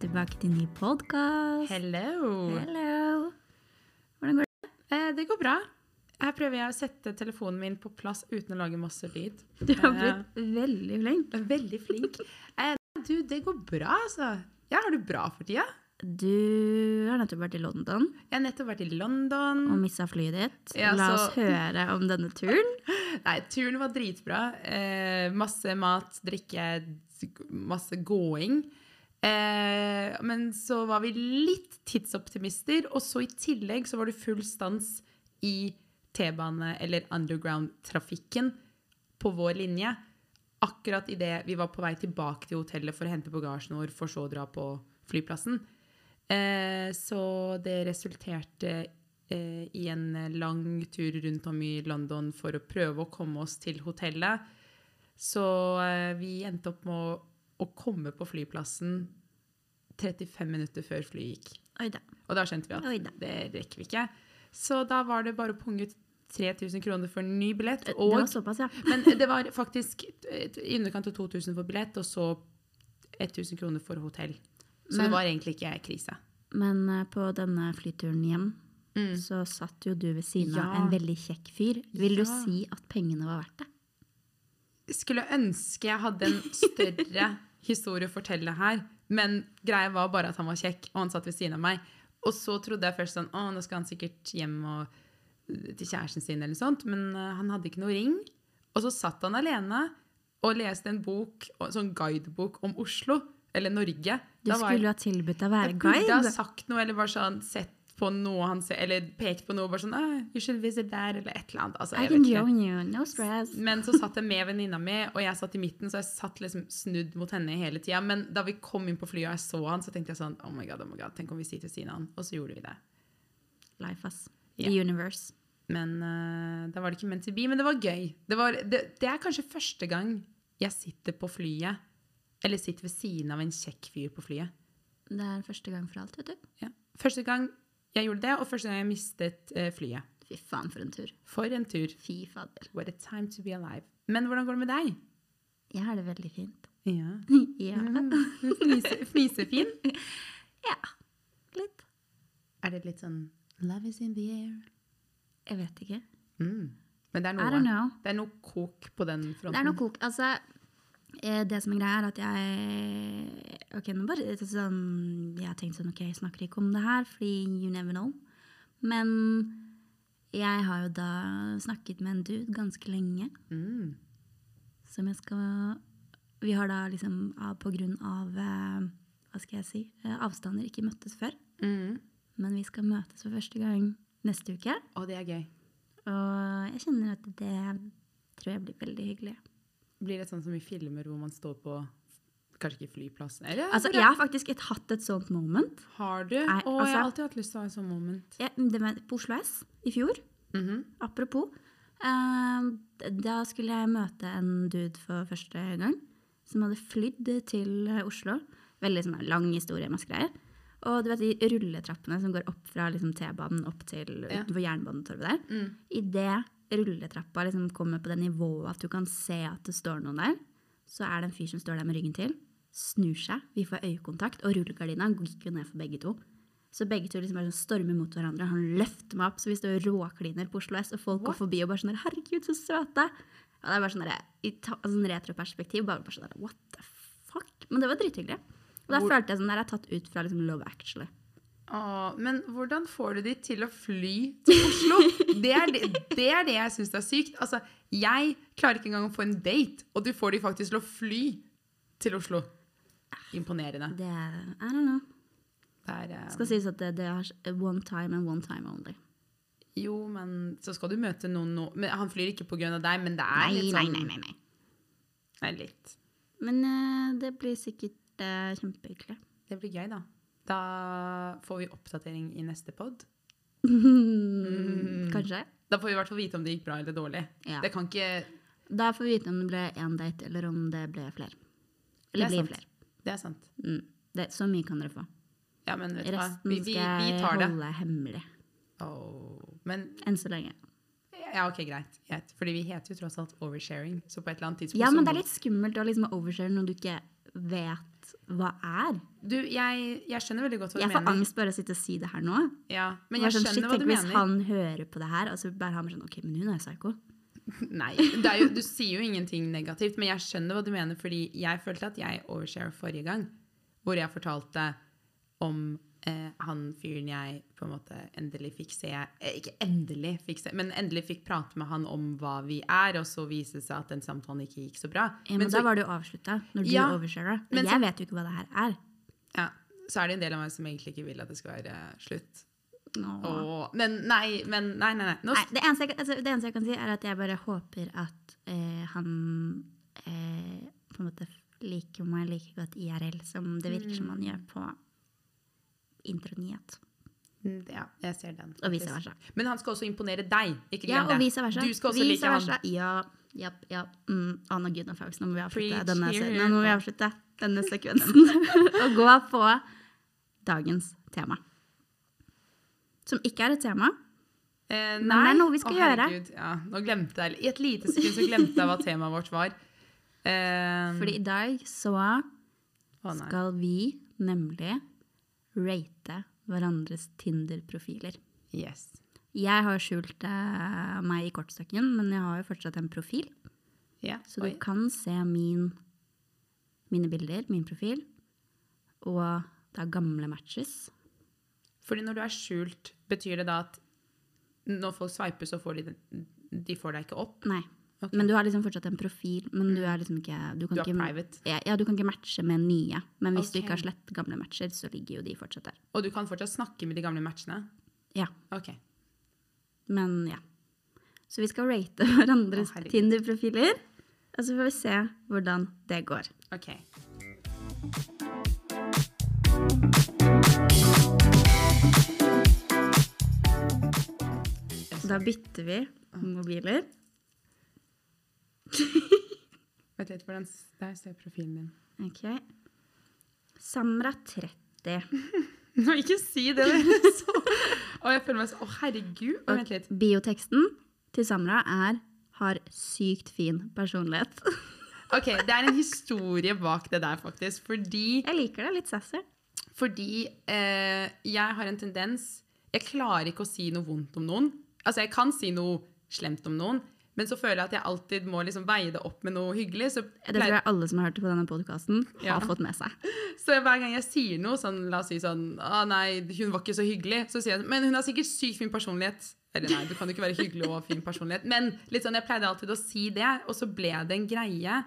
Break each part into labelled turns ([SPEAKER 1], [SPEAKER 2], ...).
[SPEAKER 1] tilbake til en ny podkast.
[SPEAKER 2] Hello.
[SPEAKER 1] Hello. Hvordan går det?
[SPEAKER 2] Eh, det går bra. Her prøver jeg å sette telefonen min på plass uten å lage masse lyd. Eh,
[SPEAKER 1] Du har blitt veldig flink.
[SPEAKER 2] Veldig flink. Eh, du, det går bra, altså. Ja, har du bra for tida?
[SPEAKER 1] Du har nettopp vært i London
[SPEAKER 2] Jeg har nettopp vært i London.
[SPEAKER 1] og missa flyet ditt.
[SPEAKER 2] Mm. Ja,
[SPEAKER 1] La oss
[SPEAKER 2] så-
[SPEAKER 1] høre om denne turen.
[SPEAKER 2] Nei, turen var dritbra. Eh, masse mat, drikke, masse gåing. Eh, men så var vi litt tidsoptimister, og så i tillegg så var det full stans i T-bane- eller underground-trafikken på vår linje. Akkurat idet vi var på vei tilbake til hotellet for å hente bagasjen vår, for så å dra på flyplassen. Eh, så det resulterte eh, i en lang tur rundt om i London for å prøve å komme oss til hotellet. Så eh, vi endte opp med å, å komme på flyplassen 35 minutter før flyet gikk.
[SPEAKER 1] Oi da.
[SPEAKER 2] Og da skjønte vi
[SPEAKER 1] Oi
[SPEAKER 2] at
[SPEAKER 1] da.
[SPEAKER 2] det rekker vi ikke. Så da var det bare å punge ut 3000 kroner for en ny billett.
[SPEAKER 1] Eh, Det
[SPEAKER 2] Og
[SPEAKER 1] var såpass, ja.
[SPEAKER 2] men det var faktisk eh, i underkant av 2000 for billett, og så 1000 kroner for hotell. Så
[SPEAKER 1] Men-
[SPEAKER 2] det var egentlig ikke krise.
[SPEAKER 1] Men eh, på denne flyturen hjem så satt jo du ved siden av
[SPEAKER 2] Mm. Ja.
[SPEAKER 1] en veldig kjekk fyr. Vil du
[SPEAKER 2] Ja.
[SPEAKER 1] si at pengene var verdt det?
[SPEAKER 2] Skulle ønske jeg hadde en større historie å fortelle her, men greia var bare at han var kjekk, og han satt ved siden av meg. Og så trodde jeg først sånn, å, nå skal han sikkert hjem og, øh, til kjæresten sin eller noe sånt, men eh, han hadde ikke noe ring. Og så satt han alene og leste en bok, en sånn guidebok om Oslo, eller Norge.
[SPEAKER 1] Du
[SPEAKER 2] Da var altså. jeg-
[SPEAKER 1] skulle jo ha tilbudt deg å være
[SPEAKER 2] Jeg burde ha
[SPEAKER 1] guide.
[SPEAKER 2] sagt noe, eller bare sånn sett på noe han ser, eller pekt på noe, bare sånn «Ah, You should visit there, eller et eller annet. Altså,
[SPEAKER 1] I
[SPEAKER 2] jeg
[SPEAKER 1] can
[SPEAKER 2] vet ikke.
[SPEAKER 1] join you, no stress.
[SPEAKER 2] Men så satt jeg med venninna mi, og jeg satt i midten, så jeg satt liksom snudd mot henne hele tida. Men da vi kom inn på flyet og jeg så han, så tenkte jeg sånn Oh my god, oh my god, tenk om vi sitter ved siden av han. Og så gjorde vi det.
[SPEAKER 1] Life, ass.
[SPEAKER 2] Ja.
[SPEAKER 1] The universe.
[SPEAKER 2] Men eh, da var det ikke meant to be, men det var gøy. Det, var, det, det er kanskje første gang jeg sitter på flyet, eller sitter ved siden av en kjekk fyr på flyet.
[SPEAKER 1] Det er første gang for alt, vet du.
[SPEAKER 2] Ja. Første gang jeg gjorde det, og første gang jeg mistet eh, flyet.
[SPEAKER 1] Fy faen, for en tur.
[SPEAKER 2] For en tur.
[SPEAKER 1] Fy fader.
[SPEAKER 2] What a time to be alive. Men hvordan går det med deg?
[SPEAKER 1] Jeg har det veldig fint.
[SPEAKER 2] Ja.
[SPEAKER 1] ja.
[SPEAKER 2] Mhm. Fnise, fnisefin?
[SPEAKER 1] ja. Litt.
[SPEAKER 2] Er det litt sånn Love is in the air.
[SPEAKER 1] Jeg vet ikke.
[SPEAKER 2] Mm. Men det er
[SPEAKER 1] I don't
[SPEAKER 2] noe,
[SPEAKER 1] know.
[SPEAKER 2] det er noe kok på den fronten.
[SPEAKER 1] Det er noe kok. Altså, eh, det som er greia, er at jeg Ok, nå bare det er sånn, Jeg har tenkt sånn Ok, jeg snakker ikke om det her, fordi you never know. Men jeg har jo da snakket med en dude ganske lenge,
[SPEAKER 2] Mm.
[SPEAKER 1] som jeg skal Vi har da liksom av- på grunn av eh, Hva skal jeg si? eh, Avstander ikke møttes før.
[SPEAKER 2] Mm.
[SPEAKER 1] Men vi skal møtes for første gang neste uke.
[SPEAKER 2] Og det er gøy.
[SPEAKER 1] Og jeg kjenner at det tror jeg blir veldig hyggelig.
[SPEAKER 2] Blir det sånn som i filmer hvor man står på Kanskje ikke flyplassen? Eller?
[SPEAKER 1] Altså, jeg har faktisk et, hatt et sånt moment.
[SPEAKER 2] Har du?
[SPEAKER 1] Nei,
[SPEAKER 2] Å, jeg har
[SPEAKER 1] altså-
[SPEAKER 2] alltid hatt lyst til å ha en sånn moment.
[SPEAKER 1] Jeg, det var på Oslo S i fjor, Mm-hmm.
[SPEAKER 2] Mhm.
[SPEAKER 1] apropos. Eh, da skulle jeg møte en dude for første gang som hadde flydd til eh, Oslo. Veldig sånn lang historie, masse greier. Og du vet de rulletrappene som går opp fra liksom, T-banen opp til
[SPEAKER 2] Ja.
[SPEAKER 1] utenfor Jernbanetorvet der.
[SPEAKER 2] Mm.
[SPEAKER 1] Idet rulletrappa liksom kommer på det nivået at du kan se at det står noen der, så er det en fyr som står der med ryggen til, snur seg, vi får øyekontakt, og rullegardina gikk jo ned for begge to. Så begge to liksom bare sånn stormer mot hverandre. Han løfter meg opp, så vi står og råkliner på Oslo S, og folk går forbi og bare sånn der, 'Herregud, så søte!' Og det er bare sånn der, i ta, sånn retroperspektiv bare, bare sånn der, 'What the fuck?' Men det var drithyggelig. Og da
[SPEAKER 2] Hvor-
[SPEAKER 1] følte jeg sånn der, jeg er tatt ut fra liksom Love Actually.
[SPEAKER 2] Å, men hvordan får du de til å fly til Oslo? Det er det, det, er det jeg syns er sykt. Altså, jeg klarer ikke engang å få en date, og du får de faktisk til å fly til Oslo. Imponerende.
[SPEAKER 1] Det er, I don't know.
[SPEAKER 2] Det er, eh,
[SPEAKER 1] Skal sies at det, det er one time and one time only.
[SPEAKER 2] jo, men så skal du møte noen nå men Han flyr ikke pga. deg, men det er
[SPEAKER 1] Nei,
[SPEAKER 2] litt
[SPEAKER 1] nei,
[SPEAKER 2] sånn
[SPEAKER 1] nei, nei, nei.
[SPEAKER 2] Nei, litt.
[SPEAKER 1] Men eh, det blir sikkert eh, kjempehyggelig.
[SPEAKER 2] Det blir gøy, da. Da får vi oppdatering i neste pod.
[SPEAKER 1] Mm. Kanskje.
[SPEAKER 2] Da får vi i hvert fall vite om det gikk bra eller dårlig.
[SPEAKER 1] Ja.
[SPEAKER 2] Mm. Det kan ikke
[SPEAKER 1] Da får vi vite om det ble én date, eller om det ble flere.
[SPEAKER 2] Det
[SPEAKER 1] Eller
[SPEAKER 2] er
[SPEAKER 1] blir
[SPEAKER 2] sant.
[SPEAKER 1] flere.
[SPEAKER 2] Det er sant.
[SPEAKER 1] Mm. Det, så mye kan dere få.
[SPEAKER 2] Ja, men vet du hva?
[SPEAKER 1] Resten
[SPEAKER 2] Vi, vi,
[SPEAKER 1] skal
[SPEAKER 2] vi
[SPEAKER 1] jeg
[SPEAKER 2] tar det.
[SPEAKER 1] holde hemmelig.
[SPEAKER 2] Åh, men
[SPEAKER 1] Enn så lenge.
[SPEAKER 2] Ja, ok, greit. greit. Fordi vi heter jo tross alt oversharing, så på et eller annet tidspunkt
[SPEAKER 1] Ja,
[SPEAKER 2] så
[SPEAKER 1] men det
[SPEAKER 2] må-
[SPEAKER 1] er litt skummelt å liksom overshare når du ikke vet hva er.
[SPEAKER 2] Du, jeg, jeg skjønner veldig godt hva
[SPEAKER 1] Jeg
[SPEAKER 2] du
[SPEAKER 1] får
[SPEAKER 2] mener.
[SPEAKER 1] angst bare av å sitte og si det her nå.
[SPEAKER 2] Ja,
[SPEAKER 1] Det
[SPEAKER 2] men
[SPEAKER 1] er
[SPEAKER 2] jeg
[SPEAKER 1] sånn,
[SPEAKER 2] skjønner
[SPEAKER 1] shit,
[SPEAKER 2] hva du
[SPEAKER 1] tenk hvis
[SPEAKER 2] mener.
[SPEAKER 1] han hører på det her, og så bare har man sånn Ok, men hun er jo psyko.
[SPEAKER 2] Nei, det er jo, du sier jo ingenting negativt, men jeg skjønner hva du mener, fordi jeg følte at jeg overshare forrige gang, hvor jeg fortalte om eh, han fyren jeg på en måte endelig fikk se, eh, ikke endelig fikk se, men endelig fikk prate med han om hva vi er, og så viste det seg at den samtalen ikke gikk så bra.
[SPEAKER 1] Ja, men,
[SPEAKER 2] men
[SPEAKER 1] da
[SPEAKER 2] så,
[SPEAKER 1] var det jo avslutta, når du
[SPEAKER 2] Ja,
[SPEAKER 1] oversharer.
[SPEAKER 2] men
[SPEAKER 1] Men
[SPEAKER 2] så-
[SPEAKER 1] jeg vet jo ikke hva det her er.
[SPEAKER 2] ja, så er det en del av meg som egentlig ikke vil at det skal være eh, slutt.
[SPEAKER 1] Nå.
[SPEAKER 2] Åh, men nei, men nei, nei, nei. Nå,
[SPEAKER 1] Nei, det, eneste jeg, kan- altså, det eneste jeg kan si, er at jeg bare håper at eh, han eh, på en måte liker meg like godt IRL som det virker som
[SPEAKER 2] Mm.
[SPEAKER 1] han gjør på intronyhet.
[SPEAKER 2] ja, jeg ser den.
[SPEAKER 1] Og vice
[SPEAKER 2] faktisk.
[SPEAKER 1] versa.
[SPEAKER 2] Men han skal også imponere deg, ikke glem
[SPEAKER 1] Ja, og
[SPEAKER 2] det.
[SPEAKER 1] vice versa.
[SPEAKER 2] Du skal også
[SPEAKER 1] Vice
[SPEAKER 2] like han.
[SPEAKER 1] versa. Ja, ja, ja. Mm, Anna Gud og Faust, nå må vi avslutte
[SPEAKER 2] Preach
[SPEAKER 1] denne,
[SPEAKER 2] here.
[SPEAKER 1] nå må vi avslutte denne sekvensen. og gå på dagens tema. Som ikke er et tema.
[SPEAKER 2] Eh, nei.
[SPEAKER 1] det er noe vi skal
[SPEAKER 2] Å,
[SPEAKER 1] gjøre.
[SPEAKER 2] herregud, Ja, nå glemte jeg, I et lite sekund så glemte jeg hva temaet vårt var. Eh,
[SPEAKER 1] Fordi i dag så
[SPEAKER 2] å, nei.
[SPEAKER 1] skal vi nemlig rate hverandres Tinder-profiler.
[SPEAKER 2] Yes.
[SPEAKER 1] Jeg har skjult eh, meg i kortstokken, men jeg har jo fortsatt en profil.
[SPEAKER 2] Ja,
[SPEAKER 1] Så
[SPEAKER 2] oi.
[SPEAKER 1] du kan se min, mine bilder, min profil, og da gamle matches.
[SPEAKER 2] Fordi når du er skjult, betyr det da at når folk sveiper, så får de, den- de får deg ikke opp?
[SPEAKER 1] Nei.
[SPEAKER 2] Ok. Mm.
[SPEAKER 1] Men du har liksom fortsatt en profil, men du er liksom ikke Du, kan
[SPEAKER 2] Du er
[SPEAKER 1] ikke,
[SPEAKER 2] private.
[SPEAKER 1] Ja, ja, du kan ikke matche med nye. Men hvis
[SPEAKER 2] Ok.
[SPEAKER 1] du ikke har slettet gamle matcher, så ligger jo de fortsatt der.
[SPEAKER 2] Og du kan fortsatt snakke med de gamle matchene?
[SPEAKER 1] Ja.
[SPEAKER 2] Ok.
[SPEAKER 1] Men ja. Så vi skal rate hverandres
[SPEAKER 2] Å, herregud.
[SPEAKER 1] Tinder-profiler. Og så får vi se hvordan det går.
[SPEAKER 2] ok.
[SPEAKER 1] Da bytter vi mobiler.
[SPEAKER 2] Vet litt hvordan s- Der ser profilen din.
[SPEAKER 1] Ok. Samra 30.
[SPEAKER 2] Nå, ikke si det! det er så. Å, jeg føler meg så Å, herregud! Vent litt.
[SPEAKER 1] Bioteksten til Samra er 'har sykt fin personlighet'.
[SPEAKER 2] Ok, Det er en historie bak det der, faktisk. Fordi
[SPEAKER 1] Jeg liker det. Litt sassy.
[SPEAKER 2] Fordi eh, jeg har en tendens Jeg klarer ikke å si noe vondt om noen. Altså, jeg kan si noe slemt om noen, men så føler jeg at jeg alltid må liksom veie det opp med noe hyggelig. Så,
[SPEAKER 1] Det tror jeg alle som har hørt på denne podkasten,
[SPEAKER 2] Ja.
[SPEAKER 1] har fått med seg.
[SPEAKER 2] så hver gang jeg sier noe, sånn, la oss si sånn Å nei, hun var ikke så hyggelig, så sier jeg sånn Men hun har sikkert sykt fin personlighet. Eller nei, du kan jo ikke være hyggelig og ha fin personlighet. Men litt sånn, jeg pleide alltid å si det, og så ble det en greie.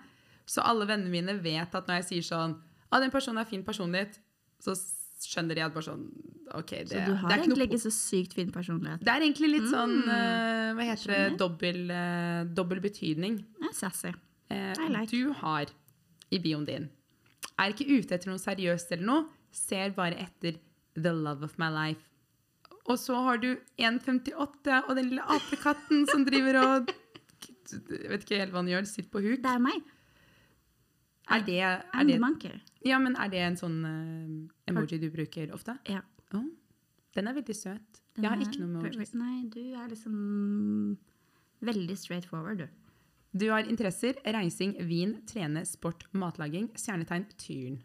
[SPEAKER 2] Så alle vennene mine vet at når jeg sier sånn Å, den personen har fin personlighet, så skjønner de at bare sånn OK, det,
[SPEAKER 1] Så du har
[SPEAKER 2] det er ikke
[SPEAKER 1] egentlig Mm.
[SPEAKER 2] noe
[SPEAKER 1] ikke så sykt fin personlighet.
[SPEAKER 2] Det er egentlig litt sånn eh, Hva heter det? Dobbel, eh, dobbel betydning.
[SPEAKER 1] Det er sassy.
[SPEAKER 2] Eh,
[SPEAKER 1] I like.
[SPEAKER 2] Du har i bioen din Er ikke ute etter noe seriøst eller noe, ser bare etter the love of my life. Og så har du 1,58 og den lille apekatten som driver og Jeg vet ikke helt hva han gjør, sitter på huk.
[SPEAKER 1] Det er meg.
[SPEAKER 2] Er det,
[SPEAKER 1] I'm
[SPEAKER 2] er
[SPEAKER 1] the
[SPEAKER 2] det,
[SPEAKER 1] monkey.
[SPEAKER 2] ja, men er det en sånn eh, emoji du bruker ofte?
[SPEAKER 1] Ja.
[SPEAKER 2] Å, den er veldig søt.
[SPEAKER 1] Den
[SPEAKER 2] Jeg har
[SPEAKER 1] er
[SPEAKER 2] ikke noe med
[SPEAKER 1] ver-
[SPEAKER 2] emojis.
[SPEAKER 1] ver- Nei, du er liksom veldig straight forward, du.
[SPEAKER 2] Du har interesser reising, vin, trene, sport, matlaging, stjernetegn, tyren.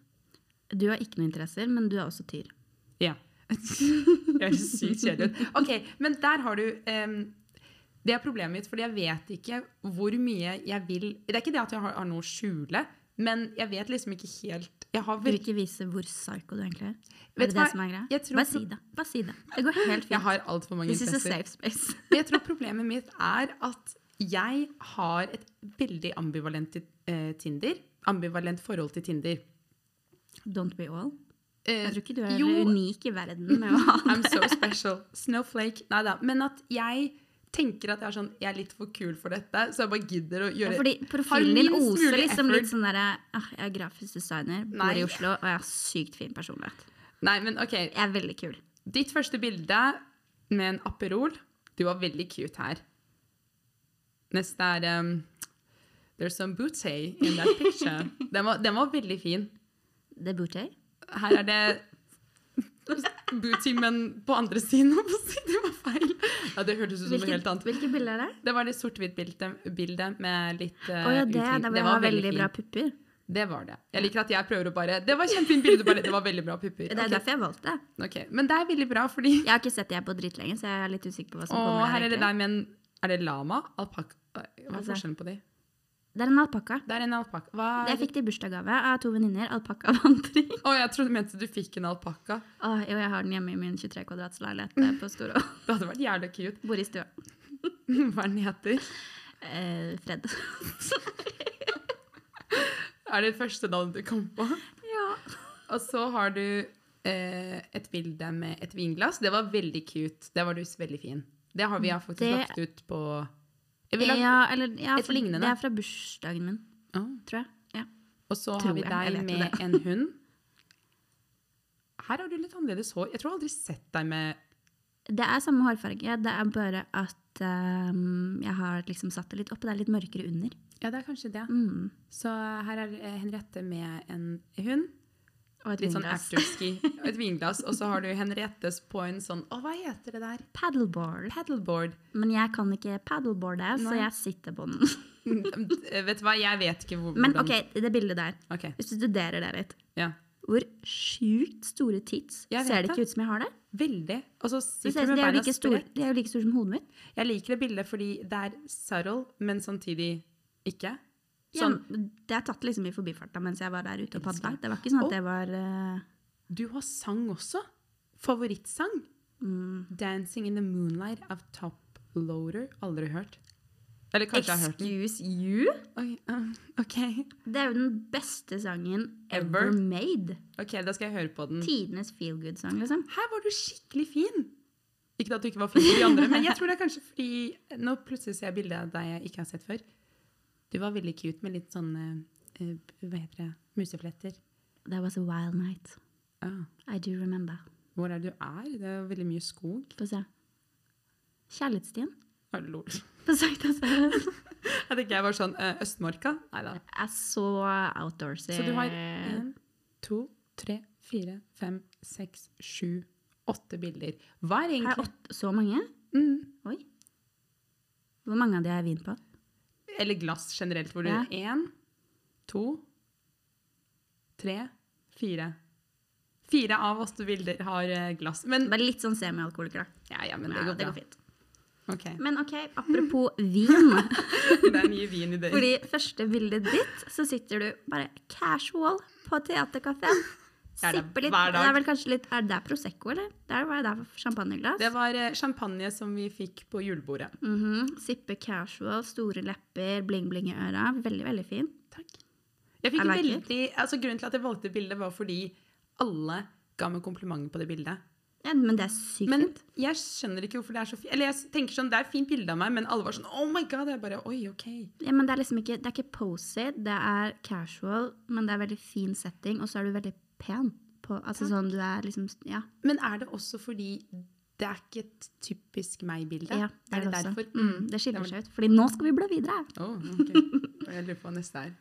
[SPEAKER 1] Du har ikke noen interesser, men du er også tyr.
[SPEAKER 2] Ja. Det høres sykt kjedelig ut. Ok, men der har du em, Det er problemet mitt, fordi jeg vet ikke hvor mye jeg vil Det er ikke det at jeg har, har noe å skjule, men jeg vet liksom ikke helt Jeg har
[SPEAKER 1] Du vil
[SPEAKER 2] virkelig
[SPEAKER 1] ikke vise hvor psycho du egentlig er? Er det
[SPEAKER 2] Vet du hva?
[SPEAKER 1] det som er greia?
[SPEAKER 2] Jeg tror
[SPEAKER 1] Bare
[SPEAKER 2] pro-
[SPEAKER 1] si det. Bare si det. Det går helt
[SPEAKER 2] Jeg
[SPEAKER 1] fint.
[SPEAKER 2] har altfor mange
[SPEAKER 1] This is a
[SPEAKER 2] interesser.
[SPEAKER 1] safe space.
[SPEAKER 2] Men jeg tror problemet mitt er at jeg har et veldig ambivalent eh, Tinder. Ambivalent forhold til Tinder.
[SPEAKER 1] Don't we all?
[SPEAKER 2] Eh,
[SPEAKER 1] Jeg tror ikke du er
[SPEAKER 2] jo.
[SPEAKER 1] unik i verden med å ha
[SPEAKER 2] I'm so special. Snowflake. Nei da. Men at jeg tenker at jeg er, sånn, jeg er litt for kul for dette, så jeg bare gidder å
[SPEAKER 1] Ja,
[SPEAKER 2] gjøre
[SPEAKER 1] fordi
[SPEAKER 2] Har
[SPEAKER 1] profilen din
[SPEAKER 2] minst
[SPEAKER 1] oser
[SPEAKER 2] mulig
[SPEAKER 1] liksom
[SPEAKER 2] effort.
[SPEAKER 1] litt sånn derre «Ah, Jeg er grafisk designer, bor
[SPEAKER 2] Nei.
[SPEAKER 1] i Oslo, og jeg har sykt fin personlighet.
[SPEAKER 2] Nei, men ok.
[SPEAKER 1] Jeg er veldig kul.
[SPEAKER 2] Ditt første bilde med en Aperol. Du var veldig cute her. Neste er um, There's some booty in that picture. Den var, den var veldig fin.
[SPEAKER 1] Det er booty.
[SPEAKER 2] Her er det booty, men på andre siden. holdt på å si. Det var feil. Ja, det hørtes ut som noe helt
[SPEAKER 1] Hvilket,
[SPEAKER 2] annet.
[SPEAKER 1] hvilket bilde er det?
[SPEAKER 2] Det var det sort-hvitt bildet bildet med litt
[SPEAKER 1] Å
[SPEAKER 2] uh,
[SPEAKER 1] ja, det, det, var, jeg har veldig bra pupper.
[SPEAKER 2] Det var det. Jeg liker at jeg prøver å bare Det var kjempefint bilde, bare det var veldig bra pupper.
[SPEAKER 1] Det er
[SPEAKER 2] Ok,
[SPEAKER 1] derfor jeg valgte det.
[SPEAKER 2] ok. Men det er veldig bra, fordi
[SPEAKER 1] Jeg har ikke sett det her på dritlenge, så jeg er litt usikker på hva som
[SPEAKER 2] Å,
[SPEAKER 1] kommer
[SPEAKER 2] her er det
[SPEAKER 1] egentlig.
[SPEAKER 2] deg med en Er det lama? Alpakka? Hva er
[SPEAKER 1] Altså-
[SPEAKER 2] forskjellen på de?
[SPEAKER 1] Det er en alpakka.
[SPEAKER 2] Det er en alpakka. Hva
[SPEAKER 1] Det
[SPEAKER 2] er
[SPEAKER 1] Jeg fikk det i bursdagsgave av to venninner. Alpakkavandring.
[SPEAKER 2] Å, jeg trodde du mente du fikk en alpakka.
[SPEAKER 1] Åh, Jo, jeg har den hjemme i min 23 kvadrats leilighet eh, på Storå.
[SPEAKER 2] Det hadde vært jævlig cute.
[SPEAKER 1] Bor i stua.
[SPEAKER 2] Hva er den heter?
[SPEAKER 1] Eh, Fred.
[SPEAKER 2] Er det første navnet du kom på?
[SPEAKER 1] ja.
[SPEAKER 2] Og så har du eh, et bilde med et vinglass. Det var veldig cute. Der var du veldig fin. Det har vi
[SPEAKER 1] Mm,
[SPEAKER 2] faktisk
[SPEAKER 1] Det-
[SPEAKER 2] lagt ut på Jeg vil ha-
[SPEAKER 1] ja, eller ja,
[SPEAKER 2] Et
[SPEAKER 1] for
[SPEAKER 2] lignende.
[SPEAKER 1] Det er fra bursdagen min,
[SPEAKER 2] Å.
[SPEAKER 1] tror jeg. Ja.
[SPEAKER 2] Og så
[SPEAKER 1] Tror
[SPEAKER 2] har vi
[SPEAKER 1] jeg. Jeg
[SPEAKER 2] deg
[SPEAKER 1] vet jo
[SPEAKER 2] med en hund. Her har du litt annerledes hår. Jeg tror aldri sett deg med
[SPEAKER 1] Det er samme hårfarge, det er bare at ehm, jeg har liksom satt det litt opp. Det er litt mørkere under.
[SPEAKER 2] Ja, det er kanskje det.
[SPEAKER 1] Mm.
[SPEAKER 2] Så her er eh, Henriette med en hund.
[SPEAKER 1] Og et
[SPEAKER 2] Litt sånn
[SPEAKER 1] vinglass.
[SPEAKER 2] afterski. Og et vinglass. Og så har du Henriettes på en sånn Å, hva heter det der?
[SPEAKER 1] Paddleboard.
[SPEAKER 2] Paddleboard.
[SPEAKER 1] Men jeg kan ikke paddleboarde, så
[SPEAKER 2] Nei.
[SPEAKER 1] jeg sitter på den.
[SPEAKER 2] Mm, eh, Vet du hva, jeg vet ikke hvor,
[SPEAKER 1] Men
[SPEAKER 2] hvordan
[SPEAKER 1] OK, det bildet der.
[SPEAKER 2] Ok,
[SPEAKER 1] Hvis du studerer det litt,
[SPEAKER 2] Ja.
[SPEAKER 1] hvor sjukt store tits
[SPEAKER 2] Jeg vet
[SPEAKER 1] ser det
[SPEAKER 2] det.
[SPEAKER 1] ikke ut som jeg har det?
[SPEAKER 2] Veldig. Og så
[SPEAKER 1] Det
[SPEAKER 2] sitter
[SPEAKER 1] ser,
[SPEAKER 2] du med
[SPEAKER 1] de, er jo
[SPEAKER 2] beina
[SPEAKER 1] like store,
[SPEAKER 2] spredt.
[SPEAKER 1] de er jo like store som hodet mitt.
[SPEAKER 2] Jeg liker det bildet fordi det er subtle, men samtidig ikke.
[SPEAKER 1] Ja,
[SPEAKER 2] Sånn,
[SPEAKER 1] det er tatt liksom i forbifarta mens jeg var der ute og padla.
[SPEAKER 2] Elsker.
[SPEAKER 1] Det var ikke sånn
[SPEAKER 2] Og-
[SPEAKER 1] at det var eh,
[SPEAKER 2] Du har sang også. Favorittsang.
[SPEAKER 1] mm,
[SPEAKER 2] 'Dancing in the Moonlight' av Top Loader. Aldri hørt. Eller kanskje jeg har hørt den.
[SPEAKER 1] Excuse you?
[SPEAKER 2] Oi, um, ok.
[SPEAKER 1] Det er jo den beste sangen ever
[SPEAKER 2] Ever. Mm.
[SPEAKER 1] made.
[SPEAKER 2] ok, da skal jeg høre på den.
[SPEAKER 1] Tidenes feelgood-sang, liksom.
[SPEAKER 2] Her var du skikkelig fin! Ikke at du ikke var fin for de andre, men jeg tror det er kanskje fordi Nå plutselig ser jeg bildet av deg jeg ikke har sett før. Du var veldig cute med litt sånn eh, eh, Hva heter det? Musefletter.
[SPEAKER 1] That was a wild night.
[SPEAKER 2] Ah,
[SPEAKER 1] I do remember.
[SPEAKER 2] hvor er det du er? Det er veldig mye skog.
[SPEAKER 1] Få se. Kjærlighetsstien.
[SPEAKER 2] Ah, lol.
[SPEAKER 1] På Sankta Søren.
[SPEAKER 2] Jeg tenker jeg var sånn eh, Østmarka. Nei da.
[SPEAKER 1] Er så outdoorsy.
[SPEAKER 2] Så du har én, to, tre, fire, fem, seks, sju, åtte bilder. Hva er
[SPEAKER 1] Har jeg
[SPEAKER 2] egentlig
[SPEAKER 1] åtte- så mange?
[SPEAKER 2] mm,
[SPEAKER 1] Oi. Hvor mange av de har jeg vin på?
[SPEAKER 2] Eller glass generelt, hvor du
[SPEAKER 1] Ja.
[SPEAKER 2] Én, to, tre, fire. Fire av åtte bilder har eh, glass. Men
[SPEAKER 1] Bare litt sånn semi-alkoholiker, da.
[SPEAKER 2] Ja, ja, men det
[SPEAKER 1] Ja,
[SPEAKER 2] går bra.
[SPEAKER 1] fint.
[SPEAKER 2] Ok.
[SPEAKER 1] Men OK, apropos vin.
[SPEAKER 2] Det er mye vin i det.
[SPEAKER 1] Fordi første bildet ditt, så sitter du bare casual på teaterkafeen.
[SPEAKER 2] Jeg er der
[SPEAKER 1] Sipper litt.
[SPEAKER 2] hver dag.
[SPEAKER 1] Det er vel kanskje litt Er det der Prosecco, eller? Der var det der for champagneglass.
[SPEAKER 2] Det var eh, champagne som vi fikk på julebordet.
[SPEAKER 1] Mhm. Sipper casual, store lepper, bling-bling i øra. Veldig, veldig fin.
[SPEAKER 2] Takk. Jeg fikk
[SPEAKER 1] I like it.
[SPEAKER 2] veldig, altså Grunnen til at jeg valgte bildet, var fordi alle ga meg komplimenter på det bildet.
[SPEAKER 1] Ja, men det er sykt
[SPEAKER 2] Men
[SPEAKER 1] fint.
[SPEAKER 2] jeg skjønner ikke hvorfor det er så fint. Eller jeg tenker sånn, det er et fint bilde av meg, men alle var sånn Oh my god! Jeg bare Oi, OK.
[SPEAKER 1] Ja, men det er liksom ikke Det er ikke posy, det er casual, men det er veldig fin setting, og så er du veldig pen. På, altså sånn du er liksom Ja.
[SPEAKER 2] Men er det også fordi det er ikke et typisk meg-bilde?
[SPEAKER 1] ja
[SPEAKER 2] er det,
[SPEAKER 1] også.
[SPEAKER 2] derfor?
[SPEAKER 1] Mm, det skiller seg ut. Fordi nå skal vi bla videre.
[SPEAKER 2] Oh, ok. Jeg lurer på hva neste er.